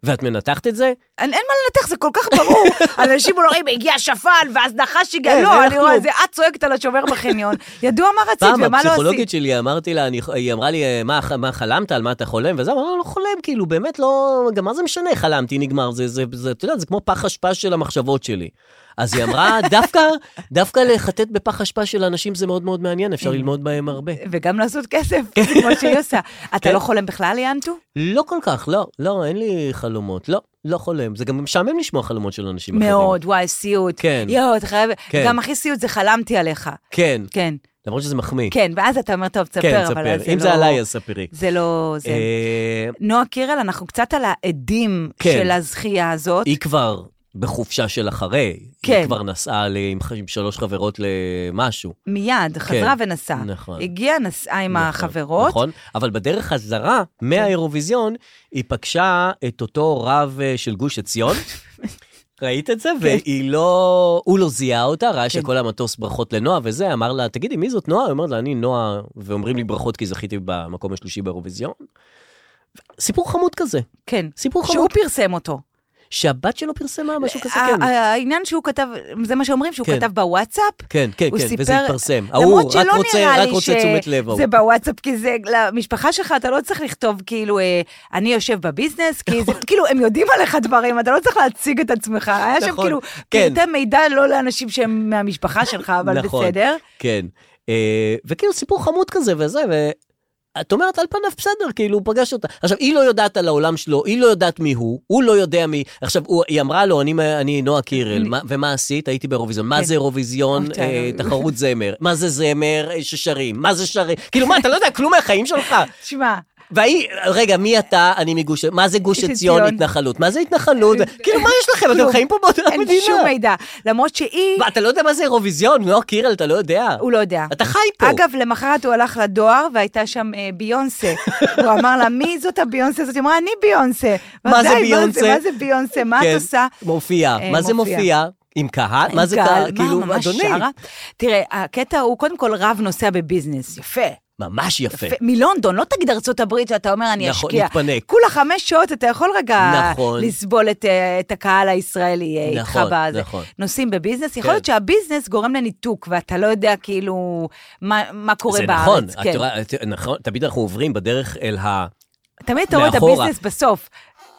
Speaker 4: ואת מנתחת את זה?
Speaker 5: אין, אין מה לנתח, זה כל כך ברור. אנשים אומרים, הגיע שפן, ואז נחש הגיע,
Speaker 4: כן, אין
Speaker 5: לא,
Speaker 4: לך
Speaker 5: אני רואה
Speaker 4: כלום.
Speaker 5: את זה, את צועקת על השומר בחניון, ידוע מה רצית
Speaker 4: פעם
Speaker 5: ומה לא עשית.
Speaker 4: הפסיכולוגית שלי, אמרתי לה, אני, היא אמרה לי, "אה, מה, מה חלמת, על מה אתה חולם? וזה, אמרנו, לא חולם, כאילו, באמת לא, גם מה זה משנה, חלמתי, נגמר, זה, זה, זה, אתה יודע, זה כמו פח אשפה של המחשבות שלי. אז היא אמרה, דווקא, דווקא לחטט בפח אשפה של אנשים זה מאוד מאוד מעניין, אפשר ללמוד בהם הרבה.
Speaker 5: וגם לעשות כסף,
Speaker 4: כן.
Speaker 5: כמו שהיא עושה. אתה לא חולם בכלל, יאנטו?
Speaker 4: לא כל כך, לא, לא, אין לי חלומות, לא, לא חולם. זה גם משעמם לשמוע חלומות של אנשים אחרים.
Speaker 5: מאוד, וואי, סיוט.
Speaker 4: כן.
Speaker 5: יואו, אתה חייב...
Speaker 4: כן.
Speaker 5: גם הכי סיוט זה חלמתי עליך.
Speaker 4: כן,
Speaker 5: כן,
Speaker 4: למרות שזה מחמיא.
Speaker 5: כן, ואז אתה אומר, טוב,
Speaker 4: כן,
Speaker 5: תספר, אבל אז
Speaker 4: ספר.
Speaker 5: זה
Speaker 4: אם
Speaker 5: לא...
Speaker 4: זה עליי, אז ספרי.
Speaker 5: זה לא... זה-
Speaker 4: אה,
Speaker 5: נועה קירל, אנחנו קצת על העדים
Speaker 4: כן.
Speaker 5: של הזכייה הזאת.
Speaker 4: היא כבר בחופשה של אחרי. היא
Speaker 5: כן.
Speaker 4: כבר נסעה ל- עם ח- עם שלוש חברות למשהו.
Speaker 5: מיד, חזרה ונסעה.
Speaker 4: כן. נכון.
Speaker 5: הגיעה, נסעה עם החברות.
Speaker 4: נכון, אבל בדרך חזרה מהאירוויזיון, היא פגשה את אותו רב אה, של גוש עציון. ראית את זה? והיא לא... הוא לא זיהה אותה, ראה שכל המטוס ברכות לנועה וזה, אמר לה, תגידי, מי זאת נועה? היא אומרת לה, אני נועה, ואומרים לי ברכות כי זכיתי במקום השלישי באירוויזיון. סיפור חמוד כזה,
Speaker 5: כן.
Speaker 4: סיפור
Speaker 5: שהוא
Speaker 4: חמוד,
Speaker 5: פרסם אותו.
Speaker 4: שהבת שלו פרסמה משהו כזה,
Speaker 5: ה-
Speaker 4: כן.
Speaker 5: ה- העניין שהוא כתב, זה מה שאומרים, שהוא
Speaker 4: כן.
Speaker 5: כתב בוואטסאפ.
Speaker 4: כן, כן,
Speaker 5: הוא
Speaker 4: כן,
Speaker 5: סיפר,
Speaker 4: וזה התפרסם. ההוא
Speaker 5: למרות
Speaker 4: רק
Speaker 5: שלא
Speaker 4: רוצה,
Speaker 5: נראה
Speaker 4: רק
Speaker 5: לי
Speaker 4: רוצה
Speaker 5: ש-
Speaker 4: תשומת לב ההוא.
Speaker 5: זה בוואטסאפ, כי זה, למשפחה שלך אתה לא צריך לכתוב כאילו, אה, אני יושב בביזנס, כי זה,
Speaker 4: נכון.
Speaker 5: כאילו, הם יודעים עליך דברים, אתה לא צריך להציג את עצמך. היה שם
Speaker 4: נכון,
Speaker 5: כאילו,
Speaker 4: כן.
Speaker 5: פרטי מידע לא לאנשים שהם מהמשפחה שלך, אבל
Speaker 4: נכון,
Speaker 5: בסדר.
Speaker 4: כן. אה, וכאילו סיפור חמוד כזה וזה, ואת אומרת, על פניו בסדר, כאילו, הוא פגש אותה. עכשיו, היא לא יודעת על העולם שלו, היא לא יודעת מי הוא, הוא לא יודע מי... עכשיו, הוא, היא אמרה לו, אני, אני נועה קירל, מה, ומה עשית? הייתי באירוויזיון. מה
Speaker 5: כן.
Speaker 4: זה אירוויזיון?
Speaker 5: אותה,
Speaker 4: אה,
Speaker 5: לא.
Speaker 4: תחרות זמר. מה זה זמר אה, ששרים? מה זה שרים? כאילו, מה, אתה לא יודע כלום מהחיים שלך?
Speaker 5: תשמע,
Speaker 4: והיא, רגע, מי אתה? אני מגוש... מה זה גוש
Speaker 5: גוש
Speaker 4: עציון
Speaker 5: עציון.
Speaker 4: התנחלות? מה זה התנחלות? כאילו, מה יש לכם? אתם
Speaker 5: כלום.
Speaker 4: חיים פה באותה מדינה.
Speaker 5: אין שום מידע. למרות שהיא,
Speaker 4: מה, אתה לא יודע מה זה אירוויזיון, נועה קירל, אתה לא יודע.
Speaker 5: הוא לא יודע.
Speaker 4: אתה חי פה.
Speaker 5: אגב, למחרת הוא הלך לדואר, והייתה שם אה, ביונסה. הוא אמר לה, מי זאת הביונסה הזאת? היא אמרה, אני ביונסה.
Speaker 4: מה זה
Speaker 5: "די,
Speaker 4: ביונסה?"
Speaker 5: מה זה ביונסה? מה
Speaker 4: כן,
Speaker 5: את עושה?
Speaker 4: מופיע.
Speaker 5: אה,
Speaker 4: מה זה
Speaker 5: מופיע.
Speaker 4: מופיע? עם קהל? מה זה
Speaker 5: עם
Speaker 4: קהל?
Speaker 5: מה,
Speaker 4: כאילו,
Speaker 5: ממש
Speaker 4: אדוני.
Speaker 5: שרה? תראה, הקטע הוא, קודם כל, רב נוסע בביזנס. יפה.
Speaker 4: ממש יפה.
Speaker 5: יפה. מלונדון, לא תגיד ארצות הברית שאתה אומר, אני
Speaker 4: נכון,
Speaker 5: אשקיע.
Speaker 4: נתפנק.
Speaker 5: כולה חמש שעות, אתה יכול רגע
Speaker 4: נכון.
Speaker 5: לסבול את, אה, את הקהל הישראלי אה, איתך
Speaker 4: נכון,
Speaker 5: בזה.
Speaker 4: נכון.
Speaker 5: נוסעים בביזנס,
Speaker 4: כן.
Speaker 5: יכול להיות שהביזנס גורם לניתוק, ואתה לא יודע כאילו מה, מה קורה
Speaker 4: זה
Speaker 5: בארץ.
Speaker 4: נכון,
Speaker 5: כן.
Speaker 4: את רואה- את- נכון, תמיד אנחנו עוברים בדרך אל ה...
Speaker 5: תמיד אתה רואה את
Speaker 4: מאחורה.
Speaker 5: הביזנס בסוף.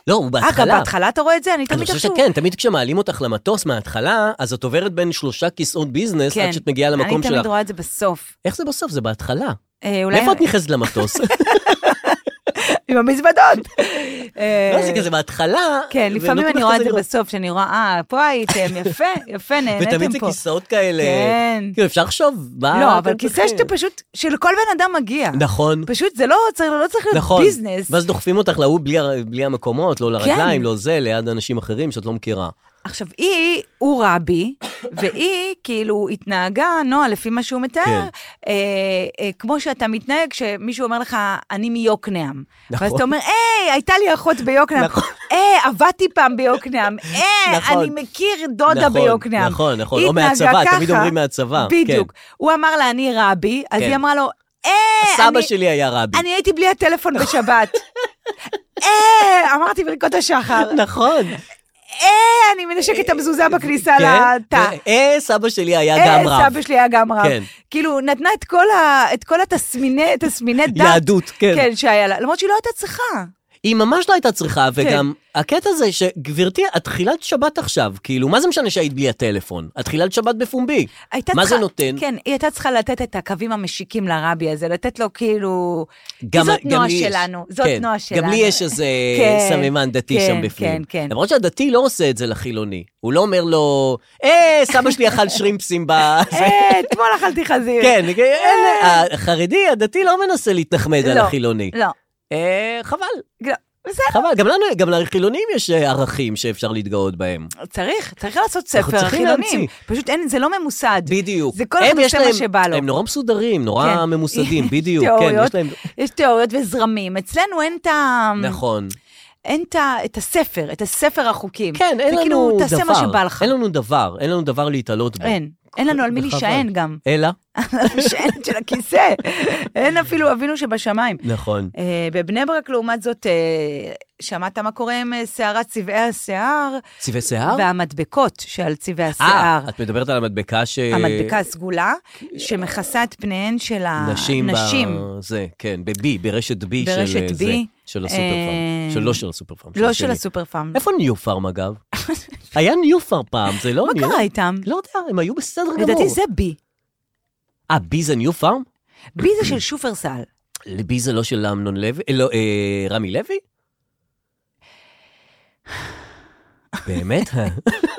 Speaker 4: לא, הוא בהתחלה.
Speaker 5: אגב, בהתחלה אתה רואה את זה? אני
Speaker 4: אני
Speaker 5: תמיד
Speaker 4: חושב
Speaker 5: חשוב.
Speaker 4: שכן, תמיד כשמעלים אותך למטוס מההתחלה, אז את עוברת בין שלושה כיסאות ביזנס עד שאת מגיעה למקום
Speaker 5: כן. אני תמיד
Speaker 4: שלך.
Speaker 5: רואה את זה בסוף.
Speaker 4: איך זה בסוף? זה בהתחלה.
Speaker 5: אה, אולי
Speaker 4: מאיפה את נכנסת למטוס?
Speaker 5: עם המזוודות. אה,
Speaker 4: לא, זה כזה בהתחלה.
Speaker 5: כן, לפעמים
Speaker 4: ונותנים
Speaker 5: אני
Speaker 4: לך
Speaker 5: רואה את
Speaker 4: כזה
Speaker 5: זה
Speaker 4: לראות.
Speaker 5: בסוף, שאני רואה, אה, פה הייתם, יפה, יפה, נהניתם פה.
Speaker 4: ותמיד זה כיסאות כאלה.
Speaker 5: כן.
Speaker 4: כאילו, אפשר לחשוב מה...
Speaker 5: לא, אבל
Speaker 4: אתם
Speaker 5: כיסא
Speaker 4: צריכים.
Speaker 5: שאתה פשוט, שלכל בן אדם מגיע.
Speaker 4: נכון.
Speaker 5: פשוט זה לא צריך, לא צריך להיות
Speaker 4: נכון,
Speaker 5: ביזנס.
Speaker 4: ואז דוחפים אותך להוא בלי, הר- בלי המקומות, לא לרגליים,
Speaker 5: כן.
Speaker 4: לא זה, ליד אנשים אחרים שאת לא מכירה.
Speaker 5: עכשיו, היא, הוא רבי, והיא כאילו התנהגה, נועה, לפי מה שהוא מתאר,
Speaker 4: כן.
Speaker 5: אה, אה, כמו שאתה מתנהג כשמישהו אומר לך, אני מיוקנעם.
Speaker 4: נכון.
Speaker 5: ואז אתה אומר, היי, הייתה לי אחות ביוקנעם.
Speaker 4: נכון.
Speaker 5: היי, עבדתי פעם ביוקנעם. היי,
Speaker 4: נכון.
Speaker 5: אני מכיר דודה
Speaker 4: נכון,
Speaker 5: ביוקנעם.
Speaker 4: נכון, נכון.
Speaker 5: היא
Speaker 4: או
Speaker 5: התנהגה
Speaker 4: מהצבא, תמיד
Speaker 5: ככה.
Speaker 4: אומרים מהצבא, כן.
Speaker 5: בדיוק. הוא אמר לה, אני רבי, אז
Speaker 4: כן.
Speaker 5: היא אמרה לו, היי,
Speaker 4: סבא
Speaker 5: אה, אני...
Speaker 4: שלי היה רבי.
Speaker 5: אני הייתי בלי הטלפון בשבת. אה, אמרתי ברכות השחר.
Speaker 4: נכון.
Speaker 5: אה, אני מנשקת את המזוזה בכניסה
Speaker 4: כן.
Speaker 5: לתא.
Speaker 4: אה, סבא שלי היה
Speaker 5: אה,
Speaker 4: גם רב.
Speaker 5: סבא שלי היה גם רב.
Speaker 4: כן.
Speaker 5: כאילו, נתנה את כל ה- את כל התסמיני תסמיני דת.
Speaker 4: יהדות, כן.
Speaker 5: כן, שהיה לה. למרות שהיא לא הייתה צריכה.
Speaker 4: היא ממש לא הייתה צריכה,
Speaker 5: כן.
Speaker 4: וגם הקטע זה שגברתי, את חיללת שבת עכשיו, כאילו, מה זה משנה שהיית בלי הטלפון? את חיללת שבת בפומבי.
Speaker 5: הייתה
Speaker 4: מה
Speaker 5: צריכה-
Speaker 4: זה נותן?
Speaker 5: כן, היא הייתה צריכה לתת את הקווים המשיקים לרבי הזה, לתת לו כאילו... כי
Speaker 4: גם-
Speaker 5: זאת
Speaker 4: גם
Speaker 5: נועה
Speaker 4: לי יש.
Speaker 5: שלנו, זאת
Speaker 4: כן,
Speaker 5: נועה שלנו.
Speaker 4: גם לי יש איזה
Speaker 5: כן,
Speaker 4: סממן דתי
Speaker 5: כן,
Speaker 4: שם בפנים.
Speaker 5: כן, כן.
Speaker 4: למרות שהדתי לא עושה את זה לחילוני. הוא לא אומר לו, אה, סבא שלי אכל שרימפסים ב... זה."
Speaker 5: אה, אתמול אכלתי חזיר.
Speaker 4: כן, אין- החרדי, הדתי לא מנסה להתנחמד על
Speaker 5: לא,
Speaker 4: החילוני.
Speaker 5: לא.
Speaker 4: אה, חבל,
Speaker 5: לא, בסדר.
Speaker 4: חבל. גם לנו, גם לחילונים יש אה, ערכים שאפשר להתגאות בהם.
Speaker 5: צריך, צריך לעשות
Speaker 4: אנחנו
Speaker 5: ספר
Speaker 4: צריכים
Speaker 5: החילונים.
Speaker 4: להמציא.
Speaker 5: פשוט אין, זה לא ממוסד.
Speaker 4: בדיוק.
Speaker 5: זה כל
Speaker 4: הם,
Speaker 5: אחד
Speaker 4: יש
Speaker 5: עושה מה
Speaker 4: להם-
Speaker 5: שבא לו.
Speaker 4: הם נורא מסודרים, נורא
Speaker 5: כן.
Speaker 4: ממוסדים,
Speaker 5: יש
Speaker 4: בדיוק. כן,
Speaker 5: תיאוריות.
Speaker 4: יש להם...
Speaker 5: יש תיאוריות וזרמים. אצלנו אין את ה...
Speaker 4: נכון.
Speaker 5: אין את ה- את הספר, את הספר החוקים.
Speaker 4: כן, אין לנו
Speaker 5: זה
Speaker 4: דבר.
Speaker 5: כאילו, תעשה מה שבא לך.
Speaker 4: אין לנו דבר, אין לנו דבר להתעלות בו.
Speaker 5: אין. אין לנו על מי
Speaker 4: וחבל.
Speaker 5: להישען גם.
Speaker 4: אלא?
Speaker 5: להישען של הכיסא. אין אפילו אבינו שבשמיים.
Speaker 4: נכון.
Speaker 5: אה, בבני ברק, לעומת זאת, אה, שמעת מה קורה עם אה, סערת צבעי השיער?
Speaker 4: צבעי שיער?
Speaker 5: והמדבקות שעל צבעי
Speaker 4: אה,
Speaker 5: השיער.
Speaker 4: את אה, מדברת על המדבקה ש...
Speaker 5: המדבקה הסגולה, שמכסה את פניהן של
Speaker 4: נשים.
Speaker 5: הנשים.
Speaker 4: ב... זה, כן, ב-B, ברשת B של...
Speaker 5: ברשת
Speaker 4: אה,
Speaker 5: B.
Speaker 4: זה, של הסופר פארם.
Speaker 5: אה,
Speaker 4: של לא של הסופר פארם.
Speaker 5: לא
Speaker 4: השני.
Speaker 5: של הסופר פארם.
Speaker 4: איפה ניו פארם, אגב? היה ניו פארם פעם, זה לא
Speaker 5: מה
Speaker 4: נראה-
Speaker 5: קרה איתם?
Speaker 4: לא יודע, הם היו בסדר גמור.
Speaker 5: לדעתי זה בי.
Speaker 4: אה, B זה ניו פארם?
Speaker 5: בי זה של שופרסל.
Speaker 4: בי זה לא של אמנון לוי? אה, לא, אה, רמי לוי? באמת?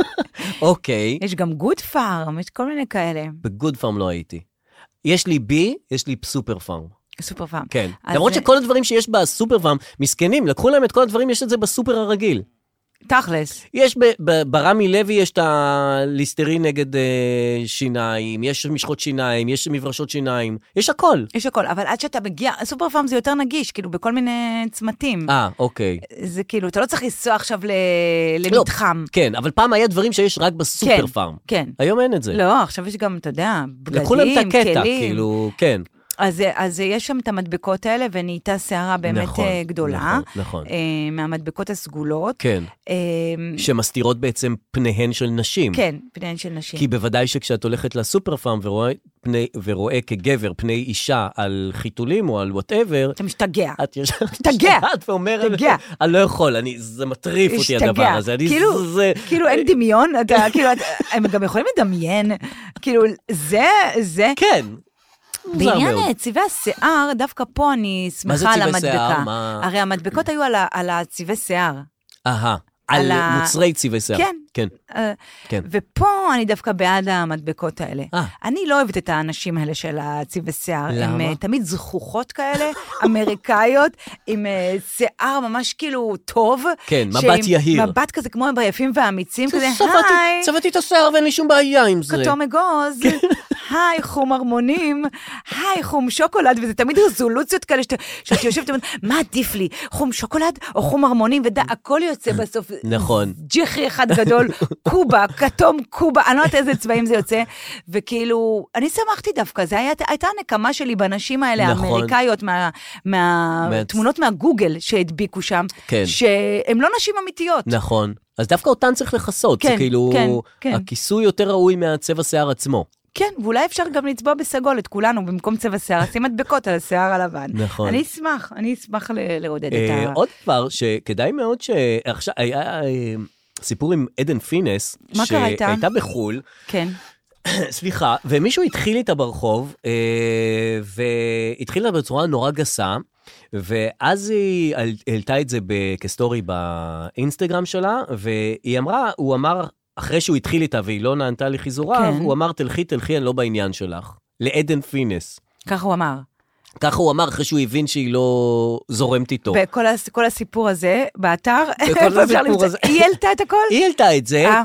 Speaker 4: אוקיי,
Speaker 5: יש גם גוד פארם, יש כל מיני כאלה.
Speaker 4: בגוד פארם לא הייתי. יש לי בי, יש לי סופר פארם.
Speaker 5: סופר פארם.
Speaker 4: כן.
Speaker 5: אז אה,
Speaker 4: למרות
Speaker 5: זה-
Speaker 4: שכל הדברים שיש בסופר פארם, מסכנים, לקחו להם את כל הדברים, יש את זה בסופר הרגיל.
Speaker 5: תכלס.
Speaker 4: יש ב- ב- ברמי לוי, יש את הליסטרין נגד אה, שיניים, יש משחות שיניים, יש מברשות שיניים, יש הכל.
Speaker 5: יש הכל, אבל עד שאתה מגיע, סופר פארם זה יותר נגיש, כאילו, בכל מיני צמתים.
Speaker 4: אה, אוקיי.
Speaker 5: זה כאילו, אתה לא צריך לנסוע עכשיו ל...
Speaker 4: לא,
Speaker 5: למתחם.
Speaker 4: כן, אבל פעם היה דברים שיש רק בסופר
Speaker 5: כן,
Speaker 4: פארם.
Speaker 5: כן.
Speaker 4: היום אין את זה.
Speaker 5: לא, עכשיו יש גם, אתה יודע,
Speaker 4: לקחו להם את
Speaker 5: בגדים,
Speaker 4: הקטע,
Speaker 5: כלים.
Speaker 4: כאילו, כן.
Speaker 5: אז, אה, אז יש שם את המדבקות האלה, ונהייתה סערה באמת
Speaker 4: נכון,
Speaker 5: אה, גדולה.
Speaker 4: נכון, נכון.
Speaker 5: אה, מהמדבקות הסגולות.
Speaker 4: כן.
Speaker 5: אה,
Speaker 4: שמסתירות בעצם פניהן של נשים.
Speaker 5: כן, פניהן של נשים.
Speaker 4: כי בוודאי שכשאת הולכת לסופר פארם ורואה, פני, ורואה כגבר פני אישה על חיתולים או על וואטאבר,
Speaker 5: אתה משתגע.
Speaker 4: את ישר
Speaker 5: תגע.
Speaker 4: משתגעת ואומרת,
Speaker 5: תגע.
Speaker 4: אני לא יכול, אני, זה מטריף אותי
Speaker 5: השתגע.
Speaker 4: הדבר הזה. אני,
Speaker 5: כאילו,
Speaker 4: זה, אה,
Speaker 5: כאילו אין דמיון, אתה, כאילו, אתה- הם גם יכולים לדמיין, כאילו, זה, זה.
Speaker 4: כן. מוזר
Speaker 5: בעניין
Speaker 4: מאוד.
Speaker 5: אה, צבעי השיער, דווקא פה אני
Speaker 4: מה זה
Speaker 5: שמחה על
Speaker 4: צבעי שיער?
Speaker 5: המדבקה.
Speaker 4: מה-
Speaker 5: הרי המדבקות היו על ה- על הצבעי שיער.
Speaker 4: אהה, על
Speaker 5: על ה-
Speaker 4: מוצרי צבעי שיער.
Speaker 5: כן.
Speaker 4: כן.
Speaker 5: אה,
Speaker 4: כן.
Speaker 5: ופה אני דווקא בעד המדבקות האלה.
Speaker 4: אה.
Speaker 5: אני לא אוהבת את האנשים האלה של הצבעי שיער. הם
Speaker 4: למה?
Speaker 5: אה, תמיד זכוכות כאלה, אמריקאיות, עם אה, שיער ממש כאילו טוב.
Speaker 4: כן, מבט
Speaker 5: שעם
Speaker 4: יהיר.
Speaker 5: מבט כזה כמו ביפים והאמיצים, כזה,
Speaker 4: צבעתי-
Speaker 5: היי,
Speaker 4: צבעתי את השיער ואין לי שום בעיה עם זה.
Speaker 5: כתום אגוז, היי, חום ערמונים, היי, חום שוקולד, וזה תמיד רזולוציות כאלה שאת- שאת יושבת ואומרת, מה עדיף לי, חום שוקולד או חום ערמונים, ודי, הכל יוצא בסוף.
Speaker 4: נכון.
Speaker 5: ג'חי אחד גדול, קובה, כתום קובה, אני לא יודעת איזה צבעים זה יוצא. וכאילו, אני שמחתי דווקא, זו הייתה הנקמה שלי בנשים האלה,
Speaker 4: נכון.
Speaker 5: האמריקאיות, מה- מה-
Speaker 4: מה-
Speaker 5: תמונות מהגוגל שהדביקו שם,
Speaker 4: כן.
Speaker 5: שהן לא נשים אמיתיות.
Speaker 4: נכון. אז דווקא אותן צריך לכסות. זה
Speaker 5: כן,
Speaker 4: כאילו,
Speaker 5: כן, כן.
Speaker 4: הכיסוי יותר ראוי מהצבע שיער עצמו.
Speaker 5: כן, ואולי אפשר גם לצבוע בסגול את כולנו במקום צבע שיער, לשים מדבקות על השיער הלבן.
Speaker 4: נכון.
Speaker 5: אני אשמח, אני אשמח ל- לעודד את
Speaker 4: אה,
Speaker 5: ה...
Speaker 4: עוד דבר שכדאי מאוד ש... עכשיו, היה אה, סיפור עם עדן פינס.
Speaker 5: מה קרה איתה?
Speaker 4: שהייתה בחו"ל,
Speaker 5: כן.
Speaker 4: סליחה, ומישהו התחיל איתה ברחוב, אה, והתחיל איתה בצורה נורא גסה, ואז היא העל- העלתה את זה ב- כסטורי באינסטגרם שלה, והיא אמרה, הוא אמר, אחרי שהוא התחיל איתה והיא לא נענתה לחיזוריו,
Speaker 5: כן.
Speaker 4: הוא אמר, תלכי, תלכי, אני לא בעניין שלך. לעדן פינס.
Speaker 5: ככה הוא אמר.
Speaker 4: ככה הוא אמר אחרי שהוא הבין שהיא לא זורמת איתו.
Speaker 5: בכל הס- כל הסיפור הזה, באתר,
Speaker 4: בכל
Speaker 5: איפה אפשר
Speaker 4: הסיפור
Speaker 5: למצוא?
Speaker 4: הזה.
Speaker 5: היא העלתה את הכל?
Speaker 4: היא העלתה את זה
Speaker 5: אה.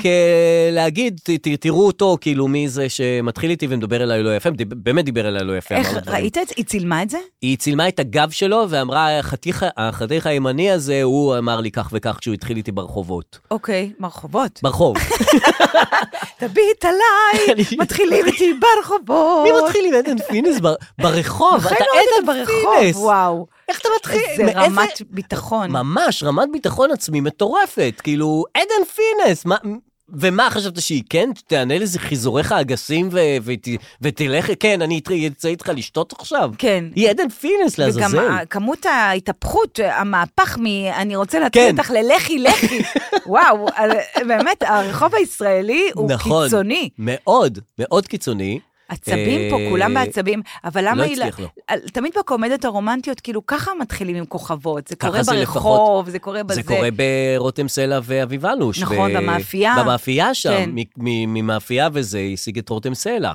Speaker 4: כלהגיד, ת- ת- תראו אותו, כאילו, מי זה שמתחיל איתי ומדבר אליי לא יפה, דיב- באמת דיבר אליי לא יפה.
Speaker 5: איך,
Speaker 4: אמר דברים.
Speaker 5: ראית את זה? היא צילמה את זה?
Speaker 4: היא צילמה את הגב שלו ואמרה, החתיך, החתיך הימני הזה, הוא אמר לי כך וכך כשהוא התחיל איתי ברחובות.
Speaker 5: אוקיי, מרחובות.
Speaker 4: ברחוב.
Speaker 5: תביט עליי,
Speaker 4: אני-
Speaker 5: מתחילים איתי ברחובות.
Speaker 4: מי מתחיל עם עדן פינס בר- ברחוב? אתה
Speaker 5: בחיים לא ראיתי
Speaker 4: עדן פינס.
Speaker 5: ברחוב, וואו.
Speaker 4: איך אתה מתחיל?
Speaker 5: זה
Speaker 4: מאיזה-
Speaker 5: רמת ביטחון.
Speaker 4: ממש, רמת ביטחון עצמי מטורפת. כאילו, עדן פינס, מה... ומה, חשבת שהיא כן תענה לזה חיזוריך הגסים ו- ות- ותלך, כן, אני אצא- אצא איתך לשתות עכשיו?
Speaker 5: כן.
Speaker 4: היא עדן פינס לעזאזל.
Speaker 5: וגם ה- כמות ההתהפכות, המהפך מ... אני רוצה להתחיל
Speaker 4: כן.
Speaker 5: אותך ללכי לכי. וואו, על- באמת, הרחוב הישראלי הוא
Speaker 4: נכון.
Speaker 5: קיצוני.
Speaker 4: מאוד, מאוד קיצוני.
Speaker 5: עצבים פה, כולם
Speaker 4: אה,
Speaker 5: בעצבים, אבל למה
Speaker 4: לא
Speaker 5: היא...
Speaker 4: הצליח לו.
Speaker 5: על- תמיד בקומדיות הרומנטיות, כאילו, ככה מתחילים עם כוכבות. זה
Speaker 4: ככה
Speaker 5: קורה
Speaker 4: זה
Speaker 5: ברחוב, זה קורה בזה.
Speaker 4: זה קורה ברותם סלע ואביב אלוש.
Speaker 5: נכון, במאפייה.
Speaker 4: במאפייה שם,
Speaker 5: כן.
Speaker 4: מ- מ- ממאפייה וזה השיג את רותם סלע.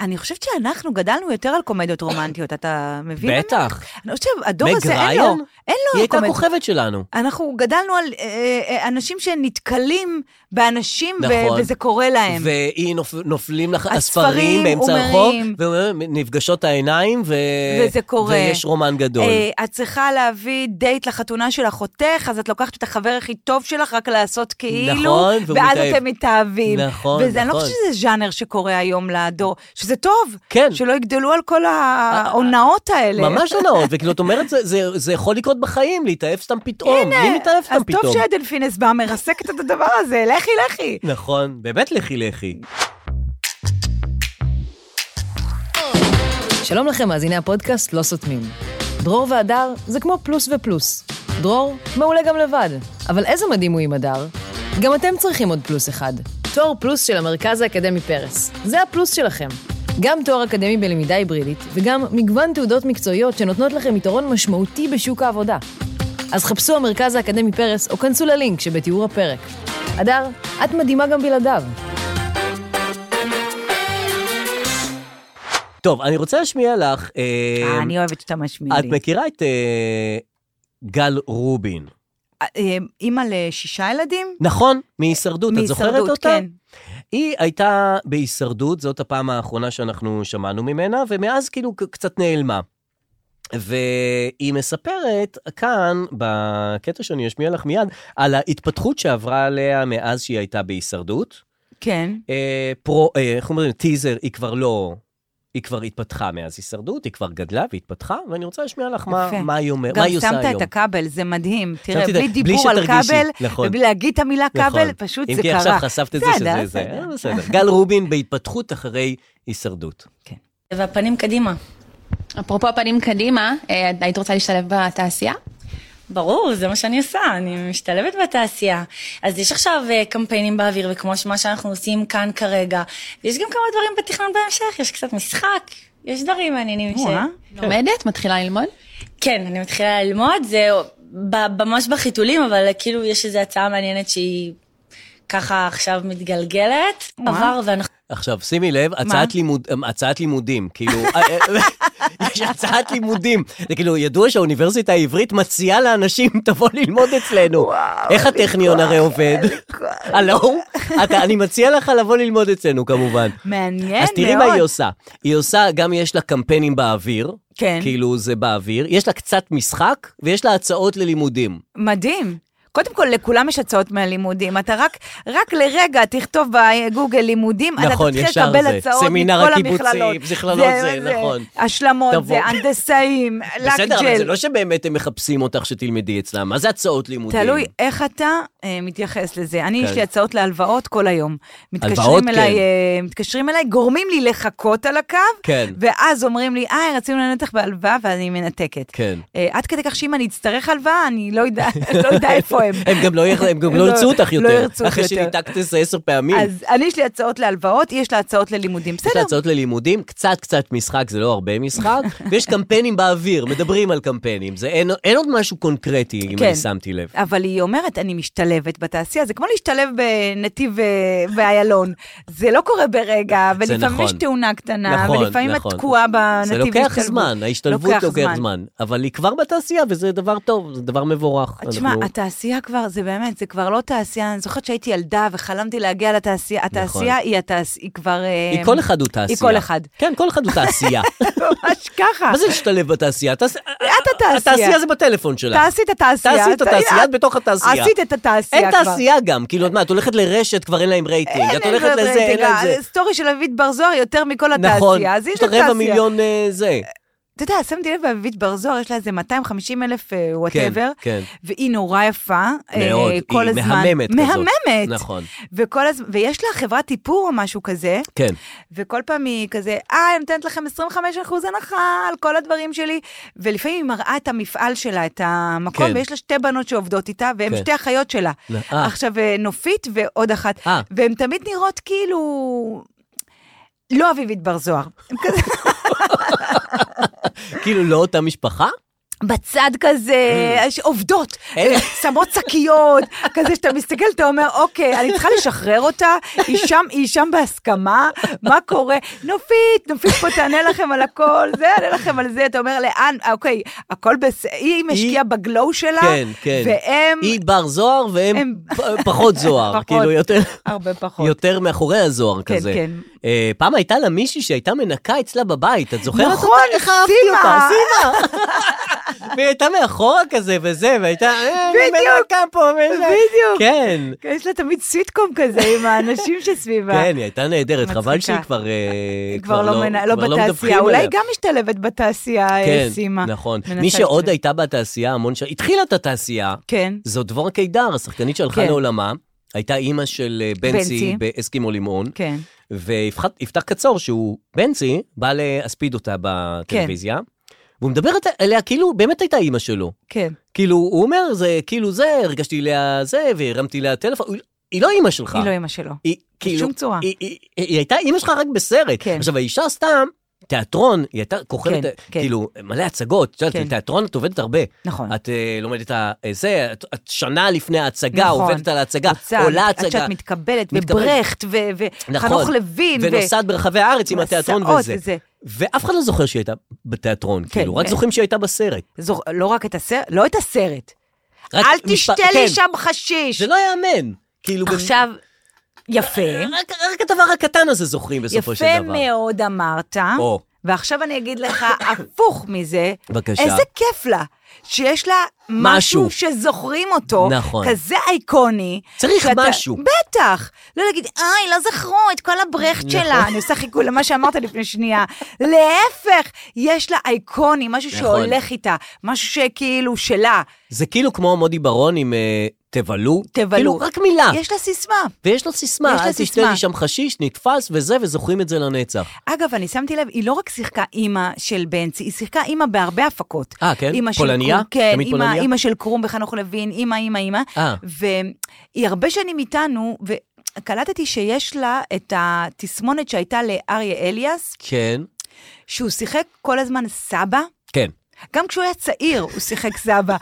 Speaker 5: אני חושבת שאנחנו גדלנו יותר על קומדיות רומנטיות, אתה מבין?
Speaker 4: בטח.
Speaker 5: אני חושבת שהדור
Speaker 4: מג
Speaker 5: הזה, אין לו,
Speaker 4: ריין?
Speaker 5: אין לו
Speaker 4: היא הייתה
Speaker 5: קומדיה.
Speaker 4: כוכבת שלנו.
Speaker 5: אנחנו גדלנו על אה, אה, אנשים שנתקלים באנשים, ו-
Speaker 4: נכון.
Speaker 5: וזה קורה להם.
Speaker 4: והיא נופ... נופלים לך
Speaker 5: הספרים
Speaker 4: הספרים באמצע
Speaker 5: אומרים.
Speaker 4: הרחוב, ונפגשות העיניים, ו...
Speaker 5: וזה קורה.
Speaker 4: אה, ויש רומן גדול.
Speaker 5: אה, את צריכה להביא דייט לחתונה של אחותך, אז את לוקחת את החבר הכי טוב שלך רק לעשות כאילו,
Speaker 4: נכון, והוא
Speaker 5: ואז
Speaker 4: מתאהב.
Speaker 5: אתם מתאהבים.
Speaker 4: נכון,
Speaker 5: וזה, אני לא
Speaker 4: נכון.
Speaker 5: חושבת שזה ז'אנר שקורה היום לדור, שזה טוב.
Speaker 4: כן.
Speaker 5: שלא יגדלו על כל ההונאות האלה.
Speaker 4: ממש הנאות, וכאילו, את אומרת, זה, זה, זה יכול לקרות בחיים, להתאהב סתם פתאום.
Speaker 5: הנה,
Speaker 4: מי מתאהב סתם
Speaker 5: אז
Speaker 4: פתאום?
Speaker 5: טוב שעדן פינס בא, מרסקת את הדבר הזה, לכי, לכי.
Speaker 4: נכון, באמת לכי לכי.
Speaker 2: שלום לכם, מאזיני הפודקאסט לא סותמים. דרור והדר זה כמו פלוס ופלוס. דרור מעולה גם לבד, אבל איזה מדהים הוא עם הדר. גם אתם צריכים עוד פלוס אחד. תואר פלוס של המרכז האקדמי פרס. זה הפלוס שלכם. גם תואר אקדמי בלמידה היברידית, וגם מגוון תעודות מקצועיות שנותנות לכם יתרון משמעותי בשוק העבודה. אז חפשו המרכז האקדמי פרס, או כנסו ללינק שבתיאור הפרק. הדר, את מדהימה גם בלעדיו.
Speaker 4: טוב, אני רוצה להשמיע לך...
Speaker 5: אה,
Speaker 4: אה,
Speaker 5: אני אוהבת שאתה משמיע
Speaker 4: את
Speaker 5: לי.
Speaker 4: מכירה את אה, גל רובין,
Speaker 5: אה, אימא לשישה ילדים?
Speaker 4: נכון? מהישרדות, את זוכרת
Speaker 5: מהישרדות,
Speaker 4: אותה?
Speaker 5: כן.
Speaker 4: היא הייתה בהישרדות, זאת הפעם האחרונה שאנחנו שמענו ממנה, ומאז כאילו ק- קצת נעלמה. והיא מספרת כאן, בקטע שאני אשמיע לך מיד, על ההתפתחות שעברה עליה מאז שהיא הייתה בהישרדות.
Speaker 5: כן.
Speaker 4: אה, פרו, אה, איך אומרים, טיזר, היא כבר לא... היא כבר התפתחה מאז הישרדות, היא כבר גדלה והתפתחה, ואני רוצה להשמיע לך מה,
Speaker 5: יפה.
Speaker 4: מה היא אומרת, מה
Speaker 5: גם
Speaker 4: היא עושה היום.
Speaker 5: שמת את הכבל, זה מדהים. תראה,
Speaker 4: שמתי את
Speaker 5: בלי
Speaker 4: ה-
Speaker 5: דיבור על
Speaker 4: שתרגישי,
Speaker 5: כבל,
Speaker 4: נכון.
Speaker 5: ובלי להגיד את המילה
Speaker 4: נכון.
Speaker 5: כבל, פשוט
Speaker 4: אם
Speaker 5: זה
Speaker 4: כי עכשיו
Speaker 5: קרה.
Speaker 4: חשפת את זה
Speaker 5: בסדר,
Speaker 4: שזה זה.
Speaker 5: בסדר.
Speaker 4: אה, בסדר. גל רובין בהתפתחות אחרי הישרדות.
Speaker 6: והפנים קדימה.
Speaker 7: אפרופו הפנים קדימה, אה, היית רוצה להשתלב בתעשייה?
Speaker 6: ברור, זה מה שאני עושה, אני משתלבת בתעשייה. אז יש עכשיו אה, קמפיינים באוויר, וכמו שמה שאנחנו עושים כאן כרגע, יש גם כמה דברים בתכנון בהמשך, יש קצת משחק, יש דברים מעניינים ש...
Speaker 5: וואה.
Speaker 7: לומדת? מתחילה ללמוד?
Speaker 6: כן, אני מתחילה ללמוד, זה ב- ממש בחיתולים, אבל אה, כאילו יש איזו הצעה מעניינת שהיא ככה עכשיו מתגלגלת.
Speaker 5: וואו.
Speaker 6: עבר, ואנחנו...
Speaker 4: עכשיו, שימי לב, הצעת, לימוד, אמ, הצעת לימודים, כאילו, אה, אה, יש הצעת לימודים. זה כאילו, ידוע שהאוניברסיטה העברית מציעה לאנשים, תבוא ללמוד אצלנו. איך הטכניון הרי עובד? הלו? אתה- אני מציע לך לבוא ללמוד אצלנו, כמובן.
Speaker 5: מעניין
Speaker 4: אז תראי
Speaker 5: מאוד.
Speaker 4: מה היא עושה. היא עושה, גם יש לה קמפיינים באוויר.
Speaker 5: כן.
Speaker 4: כאילו, זה באוויר. יש לה קצת משחק, ויש לה הצעות ללימודים.
Speaker 5: מדהים. קודם כל, לכולם יש הצעות מהלימודים. אתה רק, רק לרגע תכתוב בגוגל לימודים,
Speaker 4: נכון,
Speaker 5: אתה
Speaker 4: ישר
Speaker 5: תתחיל לקבל
Speaker 4: זה.
Speaker 5: הצעות
Speaker 4: סמינר
Speaker 5: מכל
Speaker 4: הקיבוצים,
Speaker 5: המכללות.
Speaker 4: זיכרונות זה, נכון.
Speaker 5: השלמות
Speaker 4: תבוא.
Speaker 5: זה, הנדסאים, לקג'ל.
Speaker 4: בסדר, אבל זה לא שבאמת הם מחפשים אותך שתלמדי אצלם. מה זה הצעות לימודים?
Speaker 5: תלוי איך אתה אה, מתייחס לזה. אני,
Speaker 4: כן.
Speaker 5: יש לי הצעות להלוואות כל היום.
Speaker 4: הלוואות,
Speaker 5: מתקשרים אליי,
Speaker 4: כן.
Speaker 5: אה, מתקשרים אליי, גורמים לי לחכות על הקו,
Speaker 4: כן.
Speaker 5: ואז אומרים לי, אה, רצינו לענות לך בהלוואה, ואני מנתקת.
Speaker 4: כן.
Speaker 5: אה, עד כדי כך שאם אני אצטרך הלוואה, אני לא יודע- לא יודע איפה הם.
Speaker 4: הם גם לא, יח- הם גם לא
Speaker 5: לא-
Speaker 4: ירצו אותך
Speaker 5: לא
Speaker 4: יותר.
Speaker 5: ירצו אותי
Speaker 4: אחרי
Speaker 5: יותר.
Speaker 4: שניתקת את זה עשר פעמים.
Speaker 5: אז אני, יש לי הצעות להלוואות, יש לה הצעות ללימודים.
Speaker 4: יש
Speaker 5: בסדר,
Speaker 4: לה הצעות ללימודים, קצת קצת משחק, זה לא הרבה משחק, ויש קמפיינים באוויר, מדברים על קמפיינים. זה אין, אין עוד משהו קונקרטי, אם
Speaker 5: כן.
Speaker 4: אני שמתי לב.
Speaker 5: אבל היא אומרת, אני משתלבת בתעשייה, זה כמו להשתלב בנתיב אה, ואיילון. זה לא קורה ברגע, ולפעמים
Speaker 4: נכון.
Speaker 5: יש תאונה קטנה,
Speaker 4: נכון,
Speaker 5: ולפעמים
Speaker 4: נכון.
Speaker 5: את תקועה בנתיב
Speaker 4: זה לוקח
Speaker 5: להשתלבות.
Speaker 4: זמן, ההשתלבות
Speaker 5: לוקח
Speaker 4: לוקח זמן, אבל היא כבר בתעשייה, וזה דבר טוב, זה דבר מבורך.
Speaker 5: תשמע,
Speaker 4: אנחנו-
Speaker 5: התעשייה כבר, זה באמת, זה כבר לא תעשייה, אני זוכרת שהייתי ילדה וחלמתי להגיע לתעשייה, התעשייה
Speaker 4: נכון.
Speaker 5: היא התעש- היא כבר... אה,
Speaker 4: היא כל אחד הוא תעשייה.
Speaker 5: היא כל אחד.
Speaker 4: כן, כל אחד הוא תעשייה.
Speaker 5: ממש ככה.
Speaker 4: מה זה להשתלב בתעשייה? התעש-
Speaker 5: את התעשייה.
Speaker 4: התעשייה זה בטלפון שלך.
Speaker 5: תעשי את התעשייה. אה,
Speaker 4: תעשי את התעשייה, את בתוך התעשייה.
Speaker 5: עשית את התעשייה
Speaker 4: אין
Speaker 5: כבר.
Speaker 4: תעשייה גם, כאילו, את מה, את הולכת לרשת, כבר אין להם רייטינג, את הולכת לזה, אין להם זה.
Speaker 5: סטורי של אביבית בר זוהר יותר מכל אה, התעשייה,
Speaker 4: נכון,
Speaker 5: אז יש
Speaker 4: יש
Speaker 5: לה
Speaker 4: לך
Speaker 5: תעשייה.
Speaker 4: רבע מיליון אה, זה.
Speaker 5: אתה יודע, שמתי לב, אביבית בר זוהר, יש לה איזה 250 אלף וואטאבר,
Speaker 4: כן.
Speaker 5: והיא נורא יפה. אה,
Speaker 4: מאוד,
Speaker 5: כל
Speaker 4: היא
Speaker 5: הזמן.
Speaker 4: מהממת כזאת.
Speaker 5: מהממת.
Speaker 4: נכון.
Speaker 5: וכל הזמן, ויש לה חברת איפור או משהו כזה,
Speaker 4: כן.
Speaker 5: וכל פעם היא כזה, אה, אני נותנת לכם 25% הנחה על כל הדברים שלי, ולפעמים היא מראה את המפעל שלה, את המקום,
Speaker 4: כן.
Speaker 5: ויש לה שתי בנות שעובדות איתה, והן
Speaker 4: כן.
Speaker 5: שתי אחיות שלה.
Speaker 4: לא, אה.
Speaker 5: עכשיו, אה, נופית ועוד אחת,
Speaker 4: אה.
Speaker 5: והן תמיד נראות כאילו... לא אביבית בר זוהר, הן כזה
Speaker 4: כאילו, לא אותה משפחה?
Speaker 5: בצד כזה,
Speaker 4: אה.
Speaker 5: יש- עובדות,
Speaker 4: אלה.
Speaker 5: שמות שקיות, כזה שאתה מסתכל, אתה אומר, אוקיי, אני צריכה לשחרר אותה, היא שם, היא שם בהסכמה, מה קורה? נופית, נופית פה תענה לכם על הכל, זה יענה לכם על זה, אתה אומר, לאן, אה, אוקיי, הכל בסדר, היא משקיעה בגלואו שלה,
Speaker 4: כן, כן.
Speaker 5: והם,
Speaker 4: היא בר זוהר והם
Speaker 5: הם-
Speaker 4: פ- פחות זוהר,
Speaker 5: פחות.
Speaker 4: כאילו, יותר...
Speaker 5: הרבה פחות.
Speaker 4: יותר מאחורי הזוהר
Speaker 5: כן,
Speaker 4: כזה.
Speaker 5: כן.
Speaker 4: אה, פעם הייתה לה מישהי שהייתה מנקה אצלה בבית, את זוכרת?
Speaker 5: נכון,
Speaker 4: אותה? איך אהבתי
Speaker 5: סימה.
Speaker 4: אותה, סימה. והיא הייתה מאחורה כזה וזה, והייתה, אה, אני
Speaker 5: בדיוק.
Speaker 4: מנקה פה, וזה.
Speaker 5: בדיוק.
Speaker 4: כן.
Speaker 5: יש לה תמיד סוויטקום כזה עם האנשים שסביבה.
Speaker 4: כן, היא הייתה נהדרת,
Speaker 5: מצחיקה.
Speaker 4: חבל שהיא כבר אה,
Speaker 5: היא כבר לא, מנה, לא
Speaker 4: כבר
Speaker 5: בתעשייה,
Speaker 4: מדווחים
Speaker 5: אולי
Speaker 4: עליה.
Speaker 5: גם משתלבת בתעשייה, אה,
Speaker 4: כן,
Speaker 5: סימה.
Speaker 4: נכון. מי
Speaker 5: מנסה
Speaker 4: שעוד
Speaker 5: להשתלב.
Speaker 4: הייתה בתעשייה המון שנים, התחילה את התעשייה,
Speaker 5: כן.
Speaker 4: זו דבורה קידר, השחקנית שהלכה
Speaker 5: כן.
Speaker 4: לעולמה. הייתה אימא של אה, בנצי
Speaker 5: בנצי.
Speaker 4: באסקימו לימון,
Speaker 5: כן,
Speaker 4: ויפתח קצור, שהוא בנצי, בא להספיד אותה בטלוויזיה, והוא מדבר את- אליה כאילו באמת הייתה אימא שלו.
Speaker 5: כן.
Speaker 4: כאילו, הוא אומר, זה כאילו זה, הרגשתי אליה זה, והרמתי אליה טלפון, הוא- היא לא אימא שלך.
Speaker 5: היא לא אימא שלו.
Speaker 4: היא כאילו...
Speaker 5: בשום צורה.
Speaker 4: היא, היא, היא, היא הייתה אימא שלך רק בסרט.
Speaker 5: כן.
Speaker 4: עכשיו, האישה סתם, תיאטרון, היא הייתה כוכבת,
Speaker 5: כן,
Speaker 4: אה,
Speaker 5: כן.
Speaker 4: כאילו, מלא הצגות, את יודעת,
Speaker 5: כן.
Speaker 4: תיאטרון את עובדת הרבה.
Speaker 5: נכון.
Speaker 4: את אה, לומדת אה, זה, את, את שנה לפני ההצגה,
Speaker 5: נכון.
Speaker 4: עובדת על ההצגה,
Speaker 5: רוצה,
Speaker 4: עולה
Speaker 5: עד
Speaker 4: הצגה.
Speaker 5: שאת מתקבלת,
Speaker 4: מתקבלת.
Speaker 5: וברכט, ו-
Speaker 4: נכון.
Speaker 5: וחנוך לוין, ו-
Speaker 4: ונוסעת ברחבי הארץ עם התיאטרון
Speaker 5: מסעות
Speaker 4: וזה.
Speaker 5: וזה.
Speaker 4: ואף אחד לא זוכר שהיא הייתה בתיאטרון,
Speaker 5: כן,
Speaker 4: כאילו, רק
Speaker 5: כן.
Speaker 4: זוכרים שהיא הייתה בסרט.
Speaker 5: זו- לא רק את הסרט, לא את הסרט.
Speaker 4: רק
Speaker 5: אל
Speaker 4: משפ-
Speaker 5: תשתה
Speaker 4: כן,
Speaker 5: לי שם חשיש.
Speaker 4: זה לא ייאמן. כאילו, במ-
Speaker 5: עכשיו, יפה,
Speaker 4: רק רק הדבר הקטן הזה זוכרים בסופו של
Speaker 5: יפה
Speaker 4: דבר.
Speaker 5: מאוד אמרת.
Speaker 4: או.
Speaker 5: ועכשיו אני אגיד לך הפוך מזה.
Speaker 4: בבקשה.
Speaker 5: איזה כיף לה. שיש לה משהו,
Speaker 4: משהו.
Speaker 5: שזוכרים אותו,
Speaker 4: נכון.
Speaker 5: כזה אייקוני.
Speaker 4: צריך משהו.
Speaker 5: בטח. לא להגיד, איי, לא זכרו את כל
Speaker 4: נכון.
Speaker 5: הברכט שלה. אני עושה חיקוי למה שאמרת לפני שנייה. להפך, יש לה אייקוני, משהו
Speaker 4: נכון.
Speaker 5: שהולך איתה, משהו שכאילו שלה.
Speaker 4: זה כאילו כמו מודי ברון עם אה, תבלו.
Speaker 5: תבלו.
Speaker 4: כאילו, רק מילה.
Speaker 5: יש לה סיסמה.
Speaker 4: ויש לו סיסמה,
Speaker 5: יש לה
Speaker 4: אל תשתה
Speaker 5: סיסמה.
Speaker 4: לי שם חשיש, נתפס וזה, וזוכרים את זה לנצח.
Speaker 5: אגב, אני שמתי לב, היא לא רק שיחקה אימא של בנצי, היא שיחקה אימא בהרבה הפקות.
Speaker 4: אה, כן?
Speaker 5: אימא של
Speaker 4: פולניה?
Speaker 5: קרום- כן,
Speaker 4: תמיד פולניה?
Speaker 5: אימא, אימא של קרום וחנוך לוין, אימא, אימא, אימא.
Speaker 4: אה.
Speaker 5: והיא הרבה שנים איתנו, וקלטתי שיש לה את התסמונת שהייתה לאריה אליאס,
Speaker 4: כן,
Speaker 5: שהוא שיחק כל הזמן סבא.
Speaker 4: כן.
Speaker 5: גם כשהוא היה צעיר, הוא שיחק סבא.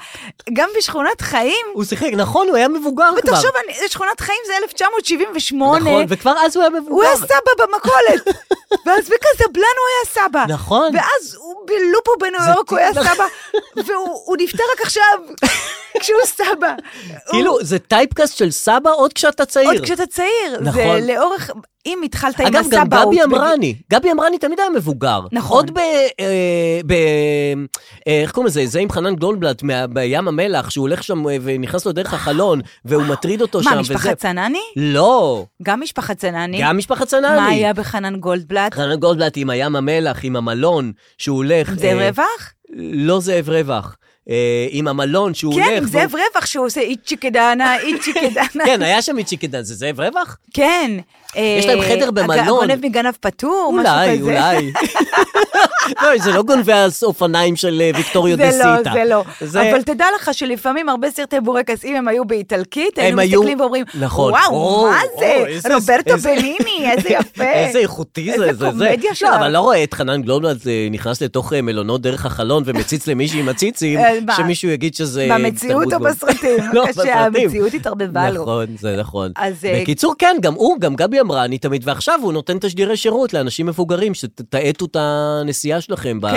Speaker 5: גם בשכונת חיים,
Speaker 4: הוא שיחק, נכון, הוא היה מבוגר כבר.
Speaker 5: ותחשוב, אני- שכונת חיים זה 1978.
Speaker 4: נכון, וכבר אז הוא היה מבוגר.
Speaker 5: הוא היה סבא במכולת, ואז בקזבלן הוא היה סבא.
Speaker 4: נכון.
Speaker 5: ואז הוא בלופו בניו
Speaker 4: זה
Speaker 5: יורק הוא היה
Speaker 4: טיל.
Speaker 5: סבא, והוא הוא נפטר רק עכשיו, כשהוא סבא.
Speaker 4: כאילו, זה טייפקאסט של סבא עוד כשאתה צעיר.
Speaker 5: עוד כשאתה צעיר.
Speaker 4: נכון.
Speaker 5: זה לאורך, אם התחלת עם הסבא...
Speaker 4: אגב, גם
Speaker 5: הוא
Speaker 4: גבי
Speaker 5: בגיל-
Speaker 4: אמרני, גבי אמרני תמיד היה מבוגר.
Speaker 5: נכון.
Speaker 4: עוד ב... אה, ב אה, איך קוראים לזה? זה עם חנן גולדבלט מה- בים המלח, שהוא הולך שם אה, ונכנס לו דרך החלון, והוא מטריד אותו לא שם.
Speaker 5: מה,
Speaker 4: וזה-
Speaker 5: משפחת צנני?
Speaker 4: לא,
Speaker 5: גם משפחת צנני?
Speaker 4: גם אה, משפחת צנני.
Speaker 5: מה היה בחנן גולדבלט?
Speaker 4: חנן גולדבלט עם הים המלח, עם המלון, שהוא הולך...
Speaker 5: עם זאב
Speaker 4: אה,
Speaker 5: רווח?
Speaker 4: לא זאב רווח. אה, עם המלון שהוא הולך...
Speaker 5: כן, עם
Speaker 4: והוא-
Speaker 5: זאב רווח שהוא עושה איצ'י קדנה, איצ'י קדנה.
Speaker 4: כן, היה שם איצ'יקי דן, זה זאב רווח?
Speaker 5: כן.
Speaker 4: יש להם
Speaker 5: אה,
Speaker 4: חדר
Speaker 5: הג-
Speaker 4: במלון.
Speaker 5: הגונב מגנב פטור, משהו כזה.
Speaker 4: אולי, אולי. לא, זה לא גונבי האופניים של אה, ויקטוריו דה
Speaker 5: זה
Speaker 4: סיטה.
Speaker 5: לא, זה לא. אבל תדע לך שלפעמים הרבה סרטי בורקס, אם הם היו באיטלקית, היינו
Speaker 4: היו-
Speaker 5: מסתכלים ואומרים,
Speaker 4: נכון.
Speaker 5: וואו,
Speaker 4: או,
Speaker 5: מה
Speaker 4: או,
Speaker 5: זה?
Speaker 4: איזה-
Speaker 5: רוברטו
Speaker 4: איזה-
Speaker 5: בליני, איזה יפה.
Speaker 4: איזה איכותי זה, זה,
Speaker 5: איזה
Speaker 4: זה.
Speaker 5: קומדיה שלו.
Speaker 4: לא, אבל לא רואה את חנן גלובלד אה, נכנס לתוך אה, מלונות דרך החלון ומציץ למישהי עם הציצים,
Speaker 5: אה, מה?
Speaker 4: שמישהו יגיד שזה...
Speaker 5: במציאות
Speaker 4: תרבות
Speaker 5: או
Speaker 4: גול.
Speaker 5: בסרטים?
Speaker 4: לא, בסרטים.
Speaker 5: שהמציאות התערבבה לו.
Speaker 4: נכון, זה נכון.
Speaker 5: אז, אה,
Speaker 4: בקיצור, כן, גם הוא, גם גבי אמרה, אני תמיד, ועכשיו הוא נותן תשדירי שירות לאנשים מבוגרים, שתאטו את הנסיעה שלכם
Speaker 5: כן.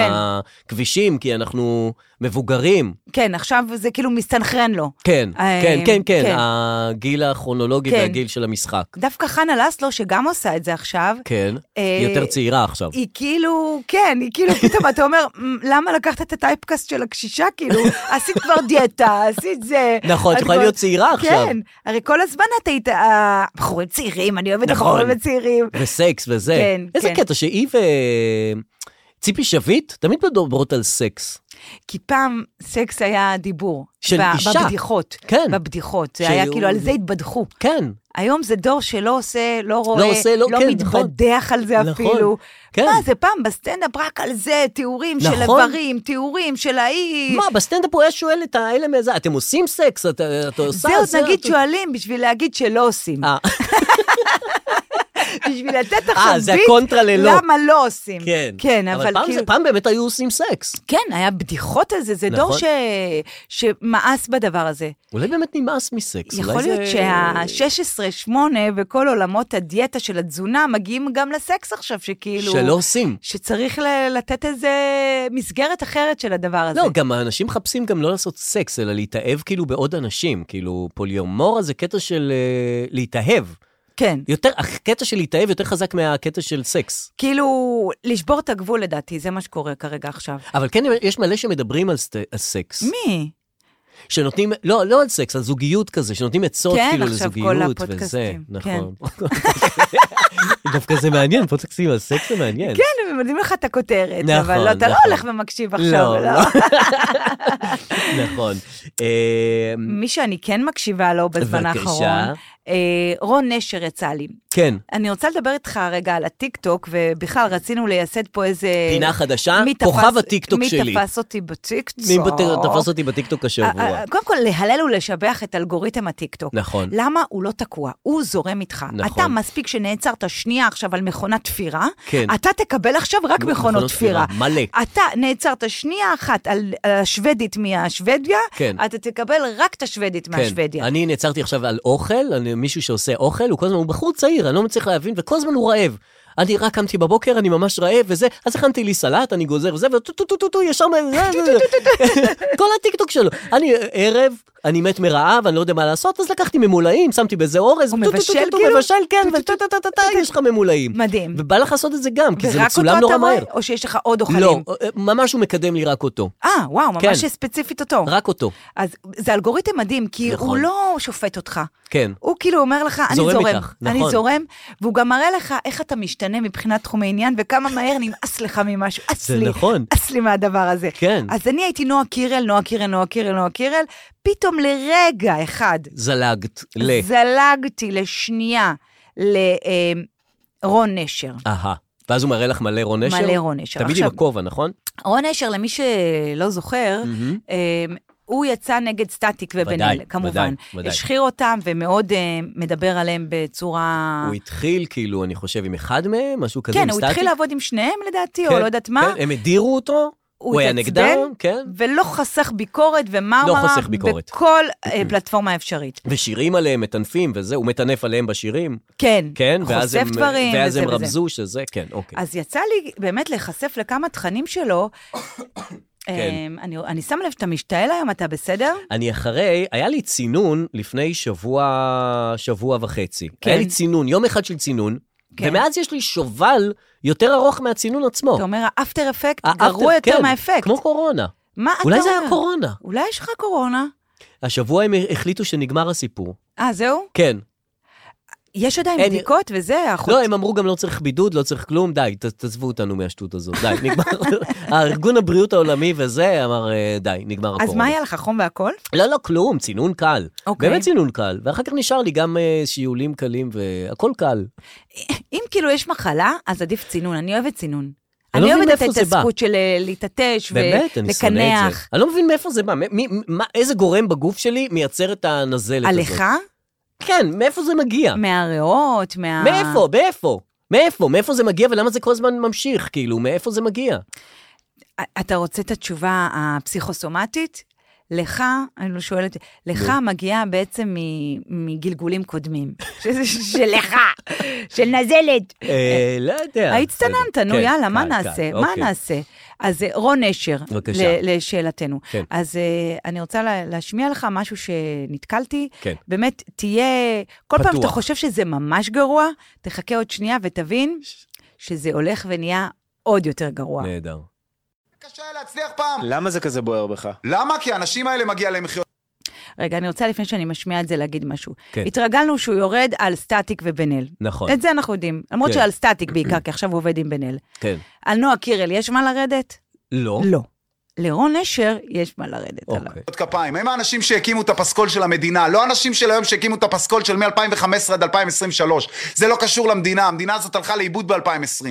Speaker 4: בכבישים, כי אנחנו מבוגרים.
Speaker 5: כן, עכשיו זה כאילו מסתנכרן לו.
Speaker 4: כן,
Speaker 5: אה,
Speaker 4: כן, כן,
Speaker 5: כן.
Speaker 4: כן, הגיל הכרונולוגי
Speaker 5: כן.
Speaker 4: והגיל של המשחק.
Speaker 5: דווקא חנה לסלו, שגם עושה את זה עכשיו,
Speaker 4: כן,
Speaker 5: אה,
Speaker 4: יותר צעירה עכשיו.
Speaker 5: היא כאילו, כן, היא כאילו, פתאום אתה אומר, "מ, למה לקחת את הטייפקאסט של הקשישה? כאילו, עשית כבר דיאטה, עשית זה.
Speaker 4: נכון, את
Speaker 5: את
Speaker 4: יכולה
Speaker 5: כבר-
Speaker 4: להיות צעירה עכשיו.
Speaker 5: כן, הרי כל הזמן את היית, אה, בחורים צעירים, אני אוהבת
Speaker 4: נכון.
Speaker 5: בחורים הצעירים.
Speaker 4: וסקס וזה.
Speaker 5: כן,
Speaker 4: איזה
Speaker 5: כן.
Speaker 4: קטע שהיא ו... ציפי שביט תמיד מדברות על סקס.
Speaker 5: כי פעם סקס היה דיבור.
Speaker 4: של
Speaker 5: ב-
Speaker 4: אישה.
Speaker 5: בבדיחות.
Speaker 4: כן.
Speaker 5: בבדיחות. זה
Speaker 4: שהוא-
Speaker 5: היה כאילו, על זה התבדחו.
Speaker 4: כן,
Speaker 5: היום זה דור שלא עושה, לא רואה, לא,
Speaker 4: עושה, לא-
Speaker 5: לא
Speaker 4: כן,
Speaker 5: מתבדח על זה
Speaker 4: נכון,
Speaker 5: אפילו.
Speaker 4: כן.
Speaker 5: מה, זה פעם בסטנדאפ רק על זה, תיאורים של
Speaker 4: נכון.
Speaker 5: איברים, תיאורים של ההיא.
Speaker 4: מה, בסטנדאפ הוא היה שואל את האלה מאיזה, אתם עושים סקס? את, את עושה?
Speaker 5: זה עוד נגיד
Speaker 4: את-
Speaker 5: שואלים בשביל להגיד שלא עושים.
Speaker 4: אה,
Speaker 5: בשביל לתת
Speaker 4: אה,
Speaker 5: עכשיו
Speaker 4: זה
Speaker 5: ביט
Speaker 4: הקונטרה ללא.
Speaker 5: למה לא עושים.
Speaker 4: כן.
Speaker 5: כן, אבל,
Speaker 4: פעם,
Speaker 5: כאילו...
Speaker 4: זה, פעם באמת היו עושים סקס.
Speaker 5: כן, היה בדיחות על זה, זה דור
Speaker 4: נכון.
Speaker 5: ש... שמאס בדבר הזה.
Speaker 4: אולי באמת נמאס מסקס.
Speaker 5: יכול
Speaker 4: אולי
Speaker 5: להיות
Speaker 4: זה...
Speaker 5: שה-16-8 וכל עולמות הדיאטה של התזונה מגיעים גם לסקס עכשיו, שכאילו...
Speaker 4: שלא עושים.
Speaker 5: שצריך ל- לתת איזה מסגרת אחרת של הדבר הזה.
Speaker 4: לא, גם האנשים מחפשים גם לא לעשות סקס, אלא להתאהב כאילו בעוד אנשים. כאילו, פוליומורה זה קטע של אה, להתאהב.
Speaker 5: כן.
Speaker 4: יותר, הקטע של להתאהב יותר חזק מהקטע של סקס.
Speaker 5: כאילו, לשבור את הגבול לדעתי, זה מה שקורה כרגע עכשיו.
Speaker 4: אבל כן, יש מלא שמדברים על, סט, על סקס.
Speaker 5: מי?
Speaker 4: שנותנים, לא, לא על סקס, על זוגיות כזה, שנותנים עצות
Speaker 5: כן,
Speaker 4: כאילו
Speaker 5: עכשיו כל
Speaker 4: לזוגיות וזה.
Speaker 5: הפודקאסטים,
Speaker 4: נכון. דווקא זה מעניין, פודקאסטים על סקס זה מעניין.
Speaker 5: כן, הם יודעים לך את הכותרת,
Speaker 4: נכון,
Speaker 5: אבל לא, אתה לא
Speaker 4: נכון.
Speaker 5: הולך ומקשיב עכשיו.
Speaker 4: לא,
Speaker 5: לא.
Speaker 4: לא. נכון. אה,
Speaker 5: מי שאני כן מקשיבה לו בזמן
Speaker 4: בבקשה.
Speaker 5: האחרון, אה, רון נשר יצא לי.
Speaker 4: כן,
Speaker 5: אני רוצה לדבר איתך רגע על הטיקטוק, ובכלל רצינו לייסד פה איזה...
Speaker 4: פינה חדשה,
Speaker 5: מי תפס-
Speaker 4: כוכב הטיקטוק
Speaker 5: מי
Speaker 4: שלי.
Speaker 5: תפס אותי בטיקטוק?
Speaker 4: מי בת- תפס אותי בטיקטוק השבוע.
Speaker 5: אה, קודם כל, להלל ולשבח את אלגוריתם הטיקטוק.
Speaker 4: נכון.
Speaker 5: למה הוא לא תקוע? הוא זורם איתך.
Speaker 4: נכון.
Speaker 5: אתה מספיק שנעצרת שנייה עכשיו על מכונת תפירה,
Speaker 4: כן.
Speaker 5: אתה תקבל עכשיו רק
Speaker 4: מ-
Speaker 5: מכונות
Speaker 4: מכונות
Speaker 5: תפירה.
Speaker 4: תפירה, מלא.
Speaker 5: אתה נעצרת שנייה אחת על על השוודית מהשוודיה,
Speaker 4: כן.
Speaker 5: אתה תקבל רק את השוודית מהשוודיה.
Speaker 4: כן. אני נעצרתי עכשיו על אוכל, על מישהו שעושה אוכל, הוא כל הזמן, הוא בחור צעיר, אני לא מצליח להבין, וכל הזמן הוא רעב. אני רק קמתי בבוקר, אני ממש רעב וזה, אז הכנתי לי סלט, אני גוזר וזה, וטו טו טו טו טו, ישר מה... זה, זה, זה. כל הטיקטוק שלו. אני ערב, אני מת מרעב, אני לא יודע מה לעשות, אז לקחתי ממולאים, שמתי באיזה אורז,
Speaker 5: הוא
Speaker 4: טו, טו, טו,
Speaker 5: מבשל
Speaker 4: טו, טו,
Speaker 5: כאילו?
Speaker 4: מבשל, כן,
Speaker 5: טו, טו,
Speaker 4: וטו טו טו טו טו, יש לך ממולאים.
Speaker 5: מדהים.
Speaker 4: ובא לך לעשות את זה גם, כי זה
Speaker 5: ורק
Speaker 4: מצולם
Speaker 5: אותו
Speaker 4: נורא
Speaker 5: אתה רואה,
Speaker 4: מהר.
Speaker 5: או שיש לך עוד אוכלים?
Speaker 4: לא, ממש הוא מקדם לי רק אותו.
Speaker 5: אה, וואו,
Speaker 4: כן.
Speaker 5: ממש ספציפית אותו.
Speaker 4: רק אותו,
Speaker 5: אז זה אלגוריתם מדהים, כי
Speaker 4: נכון.
Speaker 5: הוא לא שופט אותך.
Speaker 4: כן.
Speaker 5: הוא כאילו אומר לך, אני
Speaker 4: זורם
Speaker 5: זורם, זורם
Speaker 4: איתך,
Speaker 5: אני
Speaker 4: נכון.
Speaker 5: זורם, והוא גם מראה לך איך אתה משתנה מבחינת תחומי עניין, וכמה מהר נמאס לך ממשהו, אס
Speaker 4: זה
Speaker 5: לי,
Speaker 4: נכון.
Speaker 5: אס לי מהדבר הזה.
Speaker 4: כן.
Speaker 5: אז אני הייתי נועה קירל, נועה קירל, נועה קירל, נועה קירל, פתאום לרגע אחד
Speaker 4: זלגת ל...
Speaker 5: זלגתי לשנייה לרון נשר.
Speaker 4: אהה. ואז הוא מראה לך מלא רון נשר?
Speaker 5: מלא רון נשר.
Speaker 4: תמיד
Speaker 5: עכשיו-
Speaker 4: עם הכובע, נכון?
Speaker 5: רון נשר, למי שלא זוכר, אמ, הוא יצא נגד סטטיק ובן
Speaker 4: ודאי,
Speaker 5: הלל, כמובן.
Speaker 4: ודאי, ודאי.
Speaker 5: השחיר אותם ומאוד אה, מדבר עליהם בצורה...
Speaker 4: הוא התחיל, כאילו, אני חושב, עם אחד מהם, משהו כזה,
Speaker 5: אה.
Speaker 4: עם
Speaker 5: כן, הוא
Speaker 4: סטטיק.
Speaker 5: התחיל לעבוד עם שניהם לדעתי,
Speaker 4: כן,
Speaker 5: או לא יודעת מה.
Speaker 4: כן, הם הדירו אותו, הוא היה
Speaker 5: התעצבן,
Speaker 4: נגדם, כן.
Speaker 5: ולא חסך ביקורת, ומה הוא
Speaker 4: לא
Speaker 5: אמר?
Speaker 4: חוסך ביקורת.
Speaker 5: בכל אה, פלטפורמה אפשרית.
Speaker 4: ושירים עליהם, מטנפים וזה, הוא מטנף עליהם בשירים.
Speaker 5: כן,
Speaker 4: כן, ואז
Speaker 5: חושף
Speaker 4: הם,
Speaker 5: דברים,
Speaker 4: ואז
Speaker 5: וזה
Speaker 4: הם
Speaker 5: וזה.
Speaker 4: רמזו שזה, כן, אוקיי.
Speaker 5: אז יצא לי באמת להיחשף לכמה תכנים שלו.
Speaker 4: כן.
Speaker 5: אמ, אני, אני שמה לב שאתה משתעל היום, אתה בסדר?
Speaker 4: אני אחרי, היה לי צינון לפני שבוע, שבוע וחצי.
Speaker 5: כן.
Speaker 4: היה לי צינון, יום אחד של צינון,
Speaker 5: כן.
Speaker 4: ומאז יש לי שובל יותר ארוך מהצינון עצמו.
Speaker 5: אתה אומר, האפטר אפקט
Speaker 4: האפטר-
Speaker 5: גרוע יותר
Speaker 4: כן,
Speaker 5: מהאפקט.
Speaker 4: כמו קורונה.
Speaker 5: מה אתה
Speaker 4: אולי זה
Speaker 5: אומר?
Speaker 4: היה קורונה.
Speaker 5: אולי יש לך קורונה?
Speaker 4: השבוע הם החליטו שנגמר הסיפור.
Speaker 5: אה, זהו?
Speaker 4: כן.
Speaker 5: יש עדיין
Speaker 4: אין-
Speaker 5: בדיקות וזה, החוץ...
Speaker 4: לא, הם אמרו גם לא צריך בידוד, לא צריך כלום, די, ת- תעזבו אותנו מהשטות הזאת, די, נגמר. הארגון הבריאות העולמי וזה אמר, אה, די, נגמר הקורונה.
Speaker 5: אז מה היה לך, חום והכל?
Speaker 4: לא, לא, כלום, צינון קל.
Speaker 5: אוקיי.
Speaker 4: באמת צינון קל. ואחר כך נשאר לי גם אה, שיעולים קלים והכל קל.
Speaker 5: אם כאילו יש מחלה, אז עדיף צינון, אני אוהבת צינון.
Speaker 4: אני
Speaker 5: אני
Speaker 4: לא
Speaker 5: אוהבת
Speaker 4: מבין
Speaker 5: את
Speaker 4: מאיפה זה בא.
Speaker 5: ההתעסקות של אה, להתעטש
Speaker 4: באמת, אני שונא את זה.
Speaker 5: ולקנח.
Speaker 4: אני לא מבין מאיפה זה בא, מ- מי- מה- איזה גורם בגוף שלי מייצר את הנזלת הזאת.
Speaker 5: עליך?
Speaker 4: כן, מאיפה זה מגיע?
Speaker 5: מהריאות, מה...
Speaker 4: מאיפה? מאיפה? מאיפה? מאיפה זה מגיע ולמה זה כל הזמן ממשיך? כאילו, מאיפה זה מגיע?
Speaker 5: אתה רוצה את התשובה הפסיכוסומטית? לך, אני לא שואלת, לך מגיעה בעצם מ- מגלגולים קודמים. שזה שלך, של נזלת.
Speaker 4: אה, לא יודע.
Speaker 5: הצטננת,
Speaker 4: בסדר.
Speaker 5: נו
Speaker 4: כן,
Speaker 5: יאללה, מה
Speaker 4: קל, קל,
Speaker 5: נעשה? מה
Speaker 4: אוקיי.
Speaker 5: נעשה? אז אה, רון נשר,
Speaker 4: בבקשה.
Speaker 5: ל- לשאלתנו.
Speaker 4: כן.
Speaker 5: אז אה, אני רוצה לה- להשמיע לך משהו שנתקלתי.
Speaker 4: כן.
Speaker 5: באמת, תהיה... כל פעם
Speaker 4: פתוח.
Speaker 5: שאתה חושב שזה ממש גרוע, תחכה עוד שנייה ותבין שזה הולך ונהיה עוד יותר גרוע.
Speaker 4: נהדר.
Speaker 8: קשה היה להצליח פעם.
Speaker 9: למה זה כזה בוער בך?
Speaker 8: למה? כי האנשים האלה מגיע להם לחיות
Speaker 5: רגע, אני רוצה לפני שאני משמיעה את זה להגיד משהו.
Speaker 4: כן.
Speaker 5: התרגלנו שהוא יורד על סטטיק ובן אל.
Speaker 4: נכון,
Speaker 5: את זה אנחנו יודעים, למרות
Speaker 4: כן.
Speaker 5: שעל סטטיק בעיקר, כי עכשיו הוא עובד עם בן אל.
Speaker 4: כן.
Speaker 5: על נועה קירל יש מה לרדת?
Speaker 4: לא?
Speaker 5: לא. לרון נשר יש מה לרדת עליו.
Speaker 4: אוקיי.
Speaker 8: כפיים. הם האנשים שהקימו את הפסקול של המדינה, לא האנשים של היום שהקימו את הפסקול של מ-2015 עד 2023. זה לא קשור למדינה, המדינה הזאת הלכה לאיבוד ב-2020.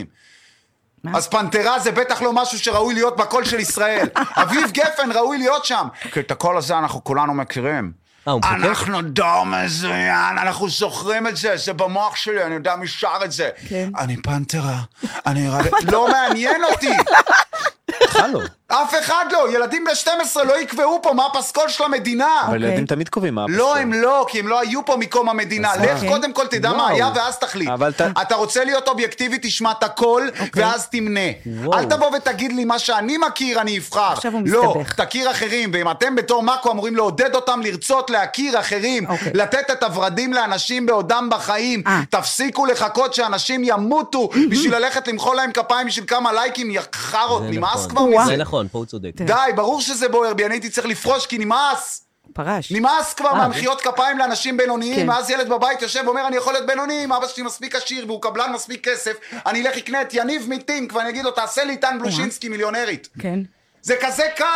Speaker 5: מה?
Speaker 8: אז פנתרה זה בטח לא משהו שראוי להיות בקול של ישראל. אביב גפן ראוי להיות שם. כי כן, את הקול הזה אנחנו כולנו מכירים.
Speaker 4: אה, הוא מחכה?
Speaker 8: אנחנו דור מזוין, אנחנו זוכרים את זה, זה במוח שלי, אני יודע מי שר את זה.
Speaker 5: כן.
Speaker 8: אני פנתרה, אני רק... לא מעניין אותי.
Speaker 4: התחלנו.
Speaker 8: אף אחד לא, ילדים בני 12 לא יקבעו פה מה הפסקול של המדינה.
Speaker 9: אבל
Speaker 5: אוקיי.
Speaker 9: ילדים תמיד קובעים מה
Speaker 8: לא,
Speaker 9: הפסוק.
Speaker 8: הם לא, כי הם לא היו פה מקום המדינה.
Speaker 9: אז
Speaker 8: לך
Speaker 5: מה?
Speaker 8: קודם כל תדע מה
Speaker 9: וואו.
Speaker 8: היה ואז תחליט.
Speaker 9: אבל ת-
Speaker 8: אתה רוצה להיות אובייקטיבי, תשמע את הכל, ואז תמנה. אל תבוא ותגיד לי מה שאני מכיר, אני אבחר.
Speaker 5: עכשיו הוא
Speaker 8: לא,
Speaker 5: מסתבך.
Speaker 8: תכיר אחרים, ואם אתם בתור מאקו אמורים לעודד אותם לרצות להכיר אחרים,
Speaker 5: אוקיי.
Speaker 8: לתת את הורדים לאנשים בעודם בחיים.
Speaker 5: אה.
Speaker 8: תפסיקו לחכות שאנשים ימותו בשביל ללכת למחוא להם כפיים בשביל כמה לייקים, יא חארות,
Speaker 4: זה
Speaker 8: נמאס
Speaker 4: נכון.
Speaker 8: כבר מזה.
Speaker 4: זה נכון, פה הוא צודק.
Speaker 8: די, ברור שזה בוער בי, אני הייתי צריך לפרוש כי נמאס.
Speaker 5: פרש.
Speaker 8: נמאס כבר מהמחיאות כפיים לאנשים בינוניים,
Speaker 5: כן.
Speaker 8: ואז ילד בבית יושב ואומר, אני יכול להיות בינוני, אם אבא שלי מספיק עשיר והוא קבלן מספיק כסף, אני אלך אקנה את יניב מיטינק ואני אגיד לו, תעשה לי טן בלושינסקי מיליונרית.
Speaker 5: כן,
Speaker 8: זה כזה קל!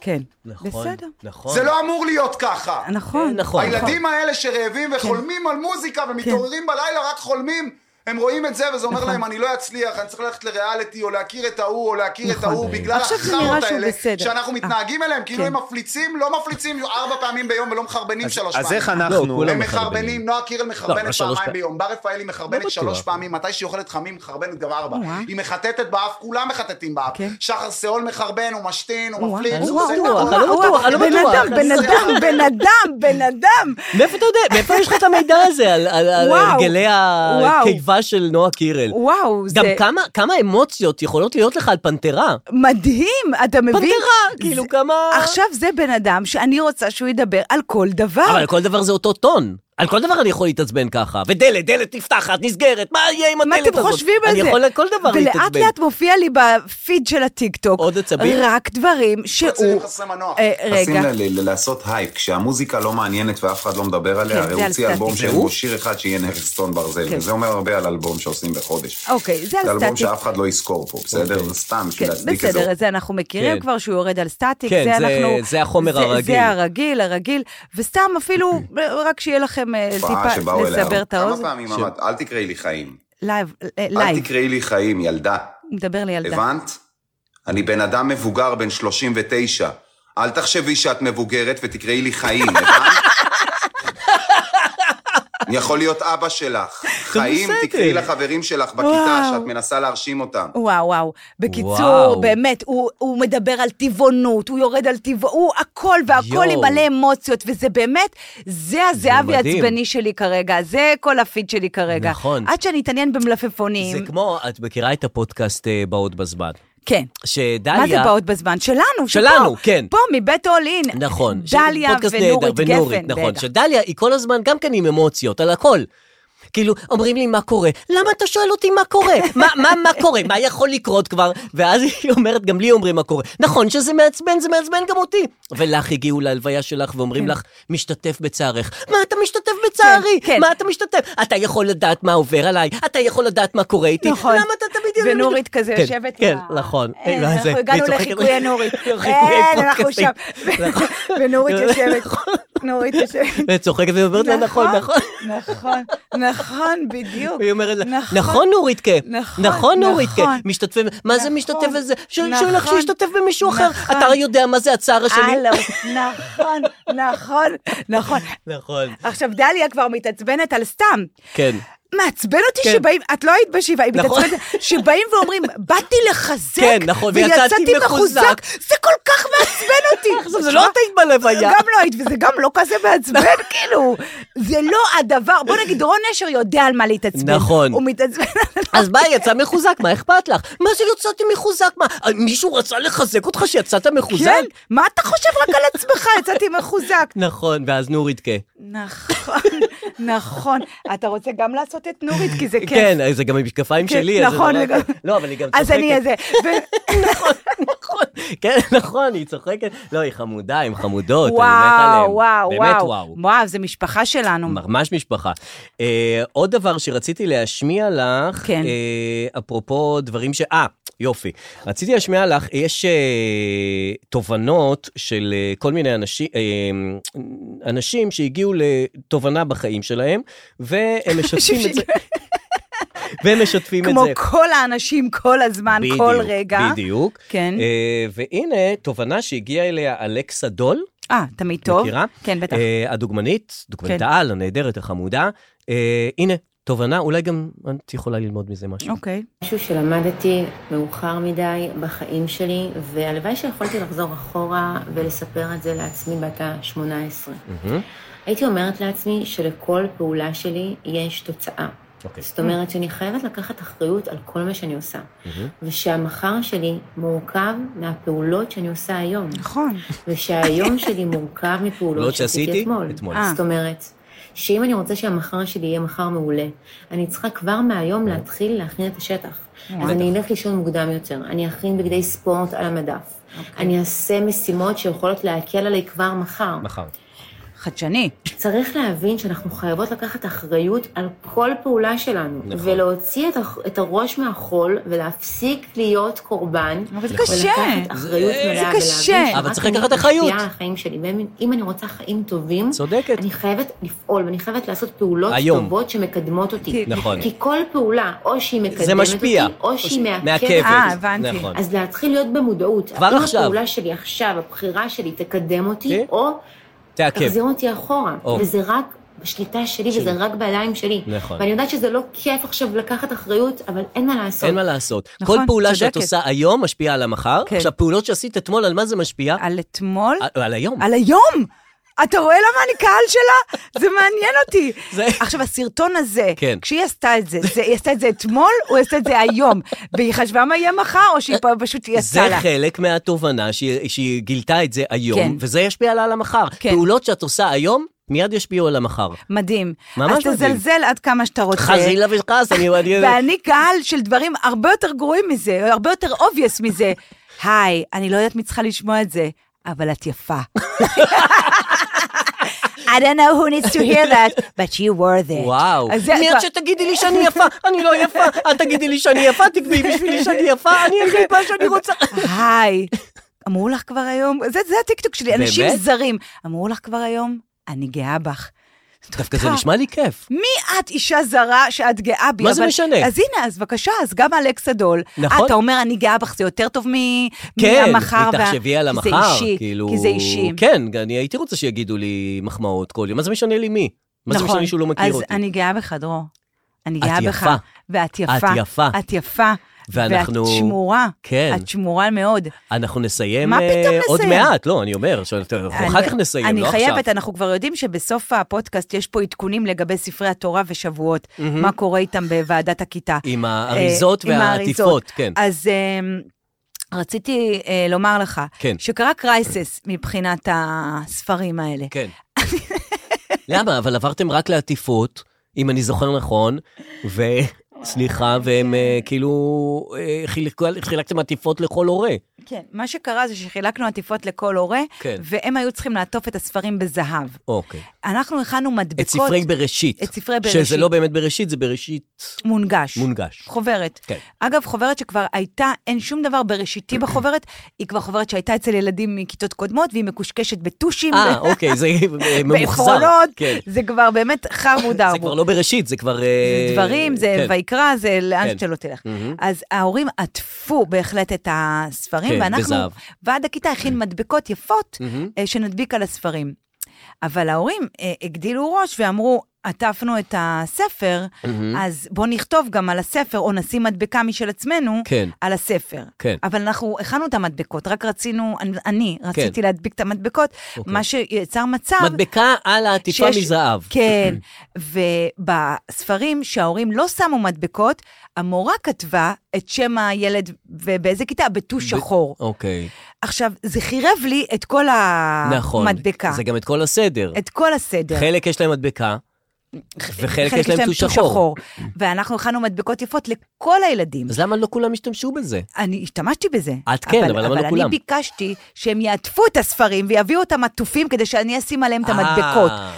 Speaker 5: כן.
Speaker 4: נכון,
Speaker 5: בסדר.
Speaker 4: נכון.
Speaker 8: זה לא אמור להיות ככה.
Speaker 5: נכון. כן.
Speaker 4: נכון.
Speaker 8: הילדים האלה שרעבים וחולמים על מוזיקה ומתעוררים בלילה, רק חולמים. הם רואים את זה, וזה אומר
Speaker 5: נכון.
Speaker 8: להם, אני לא אצליח, אני צריך ללכת לריאליטי, או להכיר את ההוא, או להכיר את
Speaker 5: נכון.
Speaker 8: ההוא, בגלל
Speaker 5: עכשיו זה נראה
Speaker 8: החארות
Speaker 5: שהוא
Speaker 8: האלה,
Speaker 5: בסדר.
Speaker 8: שאנחנו
Speaker 5: אה,
Speaker 8: מתנהגים אליהם, כאילו
Speaker 5: כן.
Speaker 8: הם מפליצים, לא מפליצים ארבע פעמים ביום ולא מחרבנים
Speaker 9: אז-
Speaker 8: שלוש פעמים.
Speaker 9: אז איך
Speaker 4: לא,
Speaker 9: אנחנו...
Speaker 4: כולם-
Speaker 8: הם
Speaker 4: מחרבנים.
Speaker 8: מחרבנים, נועה קירל
Speaker 4: לא, לא
Speaker 8: מחרבנת
Speaker 4: שלוש
Speaker 8: פעמיים
Speaker 4: פעמים.
Speaker 8: ביום, בר רפאלי
Speaker 4: לא
Speaker 8: מחרבנת שלוש
Speaker 4: בטוח.
Speaker 8: פעמים, מתי שהיא אוכלת חמים, מחרבנת גם ארבע.
Speaker 5: או-אה.
Speaker 8: היא מחטטת באף, כולם מחטטים באף.
Speaker 5: כן.
Speaker 8: שחר סאול מחרבן, הוא משתין, הוא
Speaker 5: וואו,
Speaker 8: מפליץ.
Speaker 4: אני
Speaker 8: הוא
Speaker 4: לא
Speaker 8: עושה את
Speaker 4: בטוח,
Speaker 8: הכל.
Speaker 4: אני לא
Speaker 5: וואו,
Speaker 4: בטוח, אני לא
Speaker 5: בן
Speaker 4: בטוח.
Speaker 5: אדם, בן אדם, בן אדם, בן אדם.
Speaker 4: מאיפה אתה יודע? מאיפה יש לך את המידע הזה על- על על
Speaker 5: וואו.
Speaker 4: הרגלי
Speaker 5: וואו.
Speaker 4: הקיבה של נועה קירל?
Speaker 5: וואו, זה
Speaker 4: גם כמה- כמה אמוציות יכולות להיות לך על פנתרה?
Speaker 5: מדהים, אתה מבין?
Speaker 4: פנתרה, כאילו
Speaker 5: זה-
Speaker 4: כמה...
Speaker 5: עכשיו זה בן אדם שאני רוצה שהוא ידבר על כל דבר.
Speaker 4: אבל על כל דבר זה אותו טון. על כל דבר אני יכול להתעצבן ככה. ודלת, דלת נפתחת, נסגרת, מה יהיה עם
Speaker 5: מה
Speaker 4: הדלת הזאת?
Speaker 5: אתם חושבים על זה?
Speaker 4: אני יכול על כל דבר
Speaker 5: ולאט
Speaker 4: להתעצבן.
Speaker 5: לאט מופיע לי בפיד של הטיקטוק,
Speaker 4: עוד עצבים?
Speaker 5: רק דברים שהוא...
Speaker 8: קצינים חסרי מנוח.
Speaker 5: אה, רגע,
Speaker 10: מנסים ל- ל- לעשות הייפ, כשהמוזיקה לא מעניינת ואף אחד לא מדבר
Speaker 5: כן,
Speaker 10: עליה, הרי
Speaker 5: זה
Speaker 10: הוא הוציא
Speaker 5: על
Speaker 10: אלבום
Speaker 5: סטטיק.
Speaker 10: שאין
Speaker 4: זה הוא?
Speaker 10: בו שיר אחד שיהיה נכס צאן
Speaker 5: כן.
Speaker 10: ברזל, וזה אומר הרבה על אלבום שעושים בחודש.
Speaker 5: אוקיי, זה על
Speaker 10: זה אלבום
Speaker 5: סטטיק.
Speaker 10: שאף אחד לא יזכור פה, בסדר? זה סתם
Speaker 5: כן,
Speaker 10: בשביל להצדיק את זה.
Speaker 5: בסדר, את זה אנחנו מכירים
Speaker 4: כן.
Speaker 5: כבר, שהוא יורד על סטטיק,
Speaker 4: כן,
Speaker 5: זה
Speaker 4: זה-
Speaker 5: אנחנו...
Speaker 4: זה החומר הרגיל.
Speaker 5: זה הרגיל, הרגיל, וסתם אפילו, רק שיהיה לכם אה,
Speaker 10: תופעה
Speaker 5: טיפה
Speaker 10: שבאו אליה.
Speaker 5: לסבר את
Speaker 10: כמה
Speaker 5: האוזן.
Speaker 10: פעמים אמרת, אל תקראי לי חיים.
Speaker 5: לייב, אה,
Speaker 10: אל
Speaker 5: לייב,
Speaker 10: תקראי לי חיים, ילדה.
Speaker 5: הוא מדבר לילדה.
Speaker 10: הבנת? אני בן אדם מבוגר, בן 39. אל תחשבי שאת מבוגרת ותקראי לי חיים, הבנת? אני יכול להיות אבא שלך. בחיים
Speaker 5: בסדר.
Speaker 10: תקראי לחברים שלך בכיתה
Speaker 5: וואו.
Speaker 10: שאת מנסה להרשים אותם.
Speaker 5: וואו, וואו. בקיצור,
Speaker 10: וואו.
Speaker 5: באמת, הוא, הוא מדבר על טבעונות, הוא יורד על טבעונות, הוא הכל והכל
Speaker 10: יואו.
Speaker 5: עם מלא אמוציות, וזה באמת, זה הזהבי
Speaker 4: מדהים.
Speaker 5: העצבני שלי כרגע, זה כל הפיד שלי כרגע.
Speaker 4: נכון.
Speaker 5: עד שאני אתעניין במלפפונים.
Speaker 4: זה כמו, את מכירה את הפודקאסט אה, באות בזמן.
Speaker 5: כן.
Speaker 4: שדליה...
Speaker 5: מה זה באות בזמן? שלנו,
Speaker 4: שלנו,
Speaker 5: שפה,
Speaker 4: כן.
Speaker 5: פה, מבית אול אין.
Speaker 4: נכון.
Speaker 5: דליה
Speaker 4: פודקאסט
Speaker 5: ונורית
Speaker 4: נהדר,
Speaker 5: גפן,
Speaker 4: ונורית, נכון.
Speaker 5: בטח.
Speaker 4: שדליה היא כל הזמן גם כן עם אמוציות, על הכל. כאילו, אומרים לי מה קורה, למה אתה שואל אותי מה קורה? מה, מה, מה קורה? מה יכול לקרות כבר? ואז היא אומרת, גם לי אומרים מה קורה. נכון שזה מעצבן, זה מעצבן גם אותי. ולך הגיעו להלוויה שלך
Speaker 5: כן.
Speaker 4: ואומרים לך, משתתף בצערך. מה אתה משתתף בצערי?
Speaker 5: כן.
Speaker 4: מה אתה משתתף? אתה יכול לדעת מה עובר עליי, אתה יכול לדעת מה קורה איתי.
Speaker 5: נכון.
Speaker 4: למה אתה תמיד...
Speaker 5: ונורית כזה
Speaker 4: כן,
Speaker 5: יושבת
Speaker 4: כן,
Speaker 5: עם
Speaker 4: נכון.
Speaker 5: אין,
Speaker 4: אה,
Speaker 5: אנחנו
Speaker 4: זה-
Speaker 5: הגענו
Speaker 4: היא צוחקת. נכון.
Speaker 5: לחיקויי נורית.
Speaker 4: לחיקויי
Speaker 5: אין, אנחנו
Speaker 4: פודקאסטים.
Speaker 5: שם. ונורית יושבת, נורית יושבת.
Speaker 4: וצוחקת ואומרת נכון. לה, נכון, נכון.
Speaker 5: נכון, נכון, בדיוק.
Speaker 4: היא אומרת לה, נכון נוריתקה,
Speaker 5: נכון,
Speaker 4: נכון נוריתקה,
Speaker 5: נכון.
Speaker 4: משתתפים, מה זה משתתף בזה? שואל לך
Speaker 5: נכון.
Speaker 4: שישתתף במישהו אחר,
Speaker 5: נכון. אה, לא.
Speaker 4: אתה יודע מה זה הצער השני?
Speaker 5: הלו, נכון, נכון, נכון.
Speaker 4: נכון.
Speaker 5: עכשיו, דליה כבר מתעצבנת על סתם.
Speaker 4: כן.
Speaker 5: מעצבן אותי
Speaker 4: כן.
Speaker 5: שבאים, את לא היית בשבעה, היא
Speaker 4: נכון.
Speaker 5: מתעצבנת, שבאים ואומרים, באתי לחזק,
Speaker 4: כן, נכון, ויצאתי
Speaker 5: ויצאתי מחוזק,
Speaker 4: מחוזק."
Speaker 5: זה כל כך מעצבן אותי.
Speaker 4: עכשיו, זה לא את היית בלוויה.
Speaker 5: גם לא היית, וזה גם לא כזה מעצבן, כאילו, זה לא הדבר, בוא נגיד, רון נשר יודע על מה להתעצבן.
Speaker 4: נכון.
Speaker 5: הוא מתעצבן על...
Speaker 4: אז מה, יצא מחוזק, מה אכפת לך? מה זה יצאתי מחוזק? מה, אה, מישהו רצה לחזק אותך שיצאת מחוזק?
Speaker 5: כן, מה אתה חושב רק על עצמך? יצאתי מחוזק.
Speaker 4: נכון, ואז נוריתקה.
Speaker 5: נכון, נכון. אתה רוצה גם לעשות את נורית, כי זה כיף.
Speaker 4: כן, זה גם המשקפיים
Speaker 5: כן,
Speaker 4: שלי. אז זה
Speaker 5: נכון,
Speaker 4: נורא-
Speaker 5: לגמרי.
Speaker 4: לא, אבל היא גם
Speaker 5: אז אני
Speaker 4: צוחקת. נכון,
Speaker 5: איזה...
Speaker 4: כן, נכון, היא צוחקת. לא, היא חמודה, הן חמודות. אני מת עליהן.
Speaker 5: וואו, וואו,
Speaker 4: באמת
Speaker 5: וואו.
Speaker 4: וואו.
Speaker 5: וואו, זה משפחה שלנו.
Speaker 4: נכון. ממש משפחה. אה, עוד דבר שרציתי להשמיע לך,
Speaker 5: כן.
Speaker 4: אה, אפרופו דברים ש... אה, יופי. רציתי להשמיע לך, יש אה, תובנות של אה, כל מיני אנשים, אה, אנשים שהגיעו לתובנה בחיים שלהם, והם משתפים את זה. והם משתפים את
Speaker 5: כמו
Speaker 4: זה.
Speaker 5: כל האנשים, כל הזמן,
Speaker 4: בדיוק,
Speaker 5: כל רגע.
Speaker 4: בדיוק.
Speaker 5: כן.
Speaker 4: אה, והנה, תובנה שהגיעה אליה אלכסה דול.
Speaker 5: אה, תמיד טוב.
Speaker 4: מכירה?
Speaker 5: כן, בטח.
Speaker 4: אה, הדוגמנית, דוגמנית
Speaker 5: כן.
Speaker 4: העל, הנהדרת, החמודה. אה, הנה, תובנה, אולי גם את יכולה ללמוד מזה משהו.
Speaker 5: אוקיי.
Speaker 11: משהו שלמדתי מאוחר מדי בחיים שלי, והלוואי שיכולתי לחזור אחורה ולספר את זה לעצמי בת ה-18. הייתי אומרת לעצמי שלכל פעולה שלי יש תוצאה.
Speaker 4: אוקיי.
Speaker 11: זאת אומרת שאני חייבת לקחת אחריות על כל מה שאני עושה. ושהמחר שלי מורכב מהפעולות שאני עושה היום.
Speaker 5: נכון.
Speaker 11: ושהיום שלי מורכב
Speaker 4: פעולות
Speaker 11: מפעולות
Speaker 4: שעשיתי
Speaker 11: שעשיתי אתמול.
Speaker 4: אתמול.
Speaker 5: אה.
Speaker 11: זאת אומרת, שאם אני רוצה שהמחר שלי יהיה מחר מעולה, אני צריכה כבר מהיום להתחיל להכין את השטח.
Speaker 5: אה.
Speaker 11: אז
Speaker 12: בטח.
Speaker 11: אני אלך לישון מוקדם יותר, אני אכין בגדי ספורט על המדף.
Speaker 5: אוקיי.
Speaker 11: אני אעשה משימות שיכולות להקל עליי כבר מחר.
Speaker 4: מחר.
Speaker 5: חדשני.
Speaker 11: צריך להבין שאנחנו חייבות לקחת אחריות על כל פעולה שלנו,
Speaker 5: נכון.
Speaker 11: ולהוציא את, הח- את הראש מהחול ולהפסיק להיות קורבן. אבל
Speaker 5: זה קשה.
Speaker 11: ולקחת אה, אחריות
Speaker 4: אה,
Speaker 5: זה-
Speaker 11: מלאה,
Speaker 5: זה קשה.
Speaker 11: ולהבין
Speaker 5: אבל
Speaker 11: שרק
Speaker 5: צריך
Speaker 11: אני
Speaker 5: לקחת אחריות.
Speaker 11: משפיעה על החיים שלי, ואם אני רוצה חיים טובים, צודקת. אני חייבת לפעול, ואני חייבת לעשות פעולות
Speaker 4: היום.
Speaker 11: טובות שמקדמות אותי.
Speaker 4: נכון.
Speaker 11: כי כל פעולה, או שהיא מקדמת
Speaker 4: זה משפיע.
Speaker 11: אותי, או שהיא
Speaker 4: מעכבת.
Speaker 11: מעכבת.
Speaker 4: אה, הבנתי. נכון.
Speaker 11: אז להתחיל להיות במודעות.
Speaker 4: כבר עכשיו.
Speaker 11: האם הפעולה שלי עכשיו, הבחירה שלי, תקדם אותי,
Speaker 4: כן.
Speaker 11: או...
Speaker 4: תעכב.
Speaker 11: תחזיר אותי אחורה.
Speaker 4: או.
Speaker 11: וזה רק בשליטה שלי,
Speaker 4: שלי.
Speaker 11: וזה רק בידיים שלי.
Speaker 4: נכון.
Speaker 11: ואני יודעת שזה לא כיף עכשיו לקחת אחריות, אבל אין מה לעשות.
Speaker 4: אין מה לעשות.
Speaker 11: נכון,
Speaker 4: כל פעולה שאת
Speaker 11: צודקת.
Speaker 4: עושה היום משפיעה על המחר. עכשיו, פעולות שעשית אתמול, על מה זה משפיע? אה,
Speaker 5: על אתמול?
Speaker 4: על היום.
Speaker 5: על היום! אתה רואה למה אני קהל שלה? זה מעניין אותי. עכשיו, הסרטון הזה,
Speaker 4: כן.
Speaker 5: כשהיא עשתה את זה, זה, היא עשתה את זה אתמול, או היא עשתה את זה היום? והיא חשבה מה יהיה מחר, או שהיא פ- פשוט יצאה
Speaker 4: זה
Speaker 5: לה?
Speaker 4: חלק מהתובנה שהיא- שהיא גילתה את זה
Speaker 5: כן.
Speaker 4: היום, וזה ישפיע עליה על המחר. פעולות שאת עושה היום, מיד ישפיעו על המחר.
Speaker 5: מדהים.
Speaker 4: ממש
Speaker 5: אז
Speaker 4: מדהים.
Speaker 5: תזלזל עד כמה שאתה רוצה.
Speaker 4: חזילה וחס, אני... אני-
Speaker 5: ואני קהל של דברים הרבה יותר גרועים מזה, או הרבה יותר obvious מזה. היי, אני לא יודעת מי צריכה לשמוע את זה, אבל את יפה. I don't know who needs to hear that, but you were there.
Speaker 4: וואו.
Speaker 5: אז זה-
Speaker 4: מיד שתגידי לי שאני יפה, אני לא יפה. אל תגידי לי שאני יפה, תקבעי בשבילי שאני יפה, אני אגיד מה שאני רוצה.
Speaker 5: היי, אמרו לך כבר היום, זה, זה הטיקטוק שלי, אנשים
Speaker 4: באמת?
Speaker 5: זרים. אמרו לך כבר היום, אני גאה בך.
Speaker 4: דווקא זה נשמע לי כיף.
Speaker 5: מי את אישה זרה שאת גאה בי?
Speaker 4: מה זה
Speaker 5: אבל-
Speaker 4: משנה?
Speaker 5: אז הנה, אז בבקשה, אז גם אלכס אדול.
Speaker 4: נכון.
Speaker 5: אתה אומר, אני גאה בך, זה יותר טוב מ-
Speaker 4: כן,
Speaker 5: מהמחר. וה-
Speaker 4: תחשבי על
Speaker 5: כי זה
Speaker 4: המחר,
Speaker 5: אישי,
Speaker 4: כאילו...
Speaker 5: כי זה אישי.
Speaker 4: כן, אני הייתי רוצה שיגידו לי מחמאות כל יום, מה זה משנה לי מי? מה זה
Speaker 5: נכון.
Speaker 4: משנה שהוא לא מכיר
Speaker 5: אז
Speaker 4: אותי?
Speaker 5: אני גאה בך, דרור. אני
Speaker 4: את
Speaker 5: גאה בך.
Speaker 4: יפה.
Speaker 5: ואת יפה.
Speaker 4: את יפה.
Speaker 5: את יפה.
Speaker 4: ואנחנו-
Speaker 5: ואת שמורה.
Speaker 4: כן.
Speaker 5: את שמורה מאוד.
Speaker 4: אנחנו נסיים
Speaker 5: מה פתאום
Speaker 4: אה, עוד
Speaker 5: נסיים?
Speaker 4: מעט, לא, אני אומר, ש- אנחנו אחר כך נסיים,
Speaker 5: אני
Speaker 4: לא עכשיו.
Speaker 5: אני חייבת, אנחנו כבר יודעים שבסוף הפודקאסט יש פה עדכונים לגבי ספרי התורה ושבועות,
Speaker 4: מהמם.
Speaker 5: מה קורה איתם בוועדת הכיתה.
Speaker 4: עם האריזות
Speaker 5: אה, עם
Speaker 4: והעטיפות,
Speaker 5: האריזות.
Speaker 4: כן.
Speaker 5: אז אה, רציתי אה, לומר לך,
Speaker 4: כן.
Speaker 5: שקרה קרייסס מבחינת הספרים האלה.
Speaker 4: כן. למה? אבל עברתם רק לעטיפות, אם אני זוכר נכון, ו... סליחה, והם אה, כאילו, אה, חילקו- חילקתם עטיפות לכל הורה.
Speaker 5: כן, מה שקרה זה שחילקנו עטיפות לכל הורה,
Speaker 4: כן.
Speaker 5: והם היו צריכים לעטוף את הספרים בזהב.
Speaker 4: אוקיי.
Speaker 5: אנחנו הכנו מדבקות...
Speaker 4: את ספרי בראשית.
Speaker 5: את ספרי בראשית.
Speaker 4: שזה לא באמת בראשית, זה בראשית
Speaker 5: מונגש.
Speaker 4: מונגש.
Speaker 5: חוברת.
Speaker 4: כן.
Speaker 5: אגב, חוברת שכבר הייתה, אין שום דבר בראשיתי בחוברת, היא כבר חוברת שהייתה אצל ילדים מכיתות קודמות, והיא מקושקשת בטושים.
Speaker 4: אה, אוקיי, זה ממוחזר.
Speaker 5: בעפרונות,
Speaker 4: כן.
Speaker 5: זה כבר באמת חמוד
Speaker 4: זה
Speaker 5: ארבו.
Speaker 4: כבר לא בראשית, זה כבר... אה,
Speaker 5: זה דברים, זה
Speaker 4: כן.
Speaker 5: ויקרא, זה לאן
Speaker 4: כן.
Speaker 5: שלא תלך.
Speaker 4: מהמם.
Speaker 5: אז ההורים עטפו בהחלט את הספרים,
Speaker 4: כן,
Speaker 5: ואנחנו,
Speaker 4: בזהב.
Speaker 5: ועד הכיתה הכין מדבקות יפות אה, שנדביק על הספרים. אבל ההורים אה, הגדילו ראש ואמרו, עטפנו את הספר,
Speaker 4: מהמם.
Speaker 5: אז בואו נכתוב גם על הספר, או נשים מדבקה משל עצמנו
Speaker 4: כן.
Speaker 5: על הספר.
Speaker 4: כן.
Speaker 5: אבל אנחנו הכנו את המדבקות, רק רצינו, אני- אני רציתי
Speaker 4: כן.
Speaker 5: להדביק את המדבקות,
Speaker 4: אוקיי.
Speaker 5: מה שיצר מצב...
Speaker 4: מדבקה על העטיפה
Speaker 5: שיש-
Speaker 4: מזהב.
Speaker 5: כן, ובספרים שההורים לא שמו מדבקות, המורה כתבה את שם הילד ובאיזה כיתה, בטוש שחור.
Speaker 4: אוקיי.
Speaker 5: עכשיו, זה חירב לי את כל אה,
Speaker 4: נכון.
Speaker 5: המדבקה,
Speaker 4: זה גם את כל הסדר.
Speaker 5: את כל הסדר.
Speaker 4: חלק יש להם מדבקה, וחלק יש להם טוש שחור.
Speaker 5: ואנחנו הכנו מדבקות יפות לכל הילדים.
Speaker 4: אז למה לא כולם השתמשו בזה?
Speaker 5: אני השתמשתי בזה.
Speaker 4: את כן, אבל למה לא
Speaker 5: אבל
Speaker 4: כולם?
Speaker 5: אני ביקשתי שהם יעטפו את הספרים ויביאו אותם עטופים כדי שאני אשים עליהם את המדבקות.
Speaker 4: אה,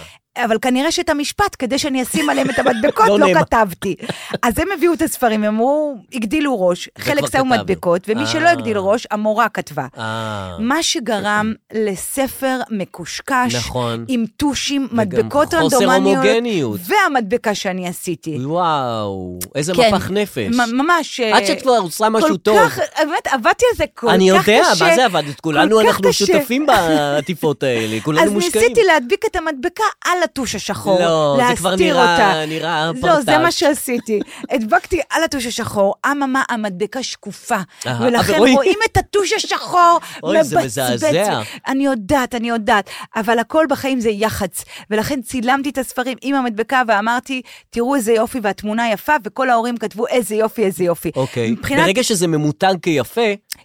Speaker 5: אבל כנראה שאת המשפט, כדי שאני אשים עליהם את המדבקות,
Speaker 4: לא
Speaker 5: לא
Speaker 4: נאמר.
Speaker 5: כתבתי. אז הם הביאו את הספרים, הם אמרו, הגדילו ראש, חלק
Speaker 4: כבר
Speaker 5: שמו
Speaker 4: כתבנו.
Speaker 5: מדבקות, ומי שלא
Speaker 4: אה.
Speaker 5: הגדיל ראש, המורה כתבה.
Speaker 4: אה.
Speaker 5: מה שגרם לספר מקושקש,
Speaker 4: נכון.
Speaker 5: עם טושים,
Speaker 4: וגם
Speaker 5: מדבקות
Speaker 4: חוסר
Speaker 5: רנדומניות,
Speaker 4: הומוגניות.
Speaker 5: והמדבקה שאני עשיתי.
Speaker 4: וואו, איזה
Speaker 5: כן.
Speaker 4: מפח נפש.
Speaker 5: מ- ממש. אה,
Speaker 4: עד שאת כבר עושה משהו
Speaker 5: כל
Speaker 4: טוב.
Speaker 5: כך, באמת, עבדתי על זה כל כך קשה.
Speaker 4: אני יודע, מה זה
Speaker 5: כל
Speaker 4: עבדת? כולנו,
Speaker 5: כך
Speaker 4: אנחנו
Speaker 5: קשה.
Speaker 4: שותפים בעטיפות האלה, כולנו
Speaker 5: אז
Speaker 4: מושקעים.
Speaker 5: ניסיתי להדביק את המדבקה על הטוש השחור.
Speaker 4: לא, זה כבר
Speaker 5: להסתיר
Speaker 4: נראה-
Speaker 5: אותה.
Speaker 4: נראה
Speaker 5: לא,
Speaker 4: פרטאץ'.
Speaker 5: זה מה שעשיתי. הדבקתי על הטוש השחור, אממה, המדבקה שקופה.
Speaker 4: אהה,
Speaker 5: ולכן
Speaker 4: אבל אוי.
Speaker 5: רואים את הטוש השחור
Speaker 4: אוי, זה מזעזע.
Speaker 5: אני יודעת, אני יודעת, אבל הכל בחיים זה יח"צ. ולכן צילמתי את הספרים עם המדבקה ואמרתי, תראו איזה יופי והתמונה יפה, וכל ההורים כתבו איזה יופי, איזה יופי.
Speaker 4: אוקיי.
Speaker 5: מבחינת-
Speaker 4: ברגע שזה ממותג כיפה,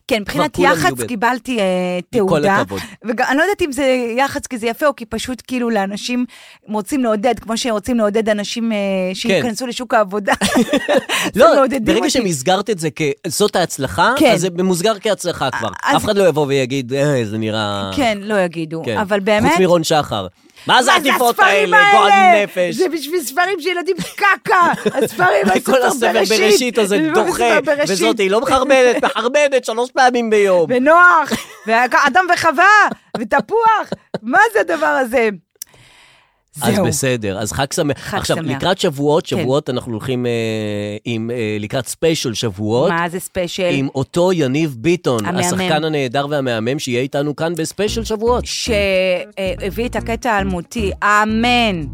Speaker 5: כן, מבחינת
Speaker 4: כולם יהיו
Speaker 5: יח"צ
Speaker 4: ב-
Speaker 5: קיבלתי אה,
Speaker 4: עם כל
Speaker 5: תעודה.
Speaker 4: הכבוד.
Speaker 5: וגם, אני לא יודעת אם זה יח"צ כי זה יפה, או כי פשוט כאילו לאנשים רוצים לעודד, כמו שרוצים לעודד אנשים אה, שייכנסו לשוק העבודה.
Speaker 4: כן. לא,
Speaker 5: מעודדים
Speaker 4: ברגע
Speaker 5: אותי.
Speaker 4: שמסגרת את זה כזאת ההצלחה,
Speaker 5: כן.
Speaker 4: אז זה מוסגר כהצלחה כבר.
Speaker 5: אז-
Speaker 4: אף אחד לא יבוא ויגיד, אה, זה נראה...
Speaker 5: כן, לא יגידו,
Speaker 4: כן.
Speaker 5: אבל באמת...
Speaker 4: חוץ מרון שחר. מה זה
Speaker 5: מה זה
Speaker 4: העטיפות
Speaker 5: הספרים
Speaker 4: האלה? גועל נפש.
Speaker 5: זה בשביל ספרים של ילדים קקה, הספרים,
Speaker 4: וכל הספר בראשית הזה
Speaker 5: זה
Speaker 4: דוחה,
Speaker 5: הספר בראשית.
Speaker 4: וזאת היא לא מחרבנת, מחרבנת שלוש פעמים ביום.
Speaker 5: ונוח, ואדם וחווה, ותפוח, מה זה הדבר הזה?
Speaker 4: אז
Speaker 5: זהו.
Speaker 4: בסדר, אז חג שמח.
Speaker 5: חג
Speaker 4: עכשיו,
Speaker 5: שמח.
Speaker 4: לקראת שבועות,
Speaker 5: כן.
Speaker 4: שבועות אנחנו הולכים אה, עם, אה, לקראת ספיישל שבועות.
Speaker 5: מה זה ספיישל?
Speaker 4: עם אותו יניב ביטון,
Speaker 5: המהמם.
Speaker 4: השחקן הנהדר והמהמם, שיהיה איתנו כאן בספיישל שבועות.
Speaker 5: שהביא את הקטע האלמותי, אמן.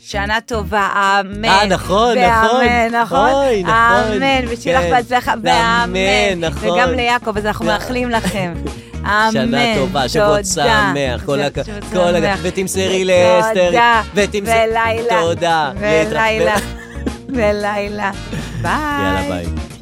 Speaker 5: שנה טובה, אמן.
Speaker 4: אה, נכון,
Speaker 5: ואמן,
Speaker 4: נכון.
Speaker 5: נכון.
Speaker 4: אוי, נכון.
Speaker 5: אמן, ושיהיה
Speaker 4: כן.
Speaker 5: לך בהצלחה,
Speaker 4: ואמן,
Speaker 5: ואמן.
Speaker 4: נכון.
Speaker 5: וגם ליעקב, אז אנחנו מאחלים לכם. אמן.
Speaker 4: שנה טובה, שבועות
Speaker 5: תודה.
Speaker 4: שמח, כל הכ...
Speaker 5: שבועות
Speaker 4: כל הכ...
Speaker 5: שמח.
Speaker 4: ותמסרי לאסתר.
Speaker 5: תודה.
Speaker 4: ותמס-
Speaker 5: ולילה.
Speaker 4: תודה.
Speaker 5: ולילה.
Speaker 4: ו-
Speaker 5: ולילה. ביי.
Speaker 4: יאללה, ביי.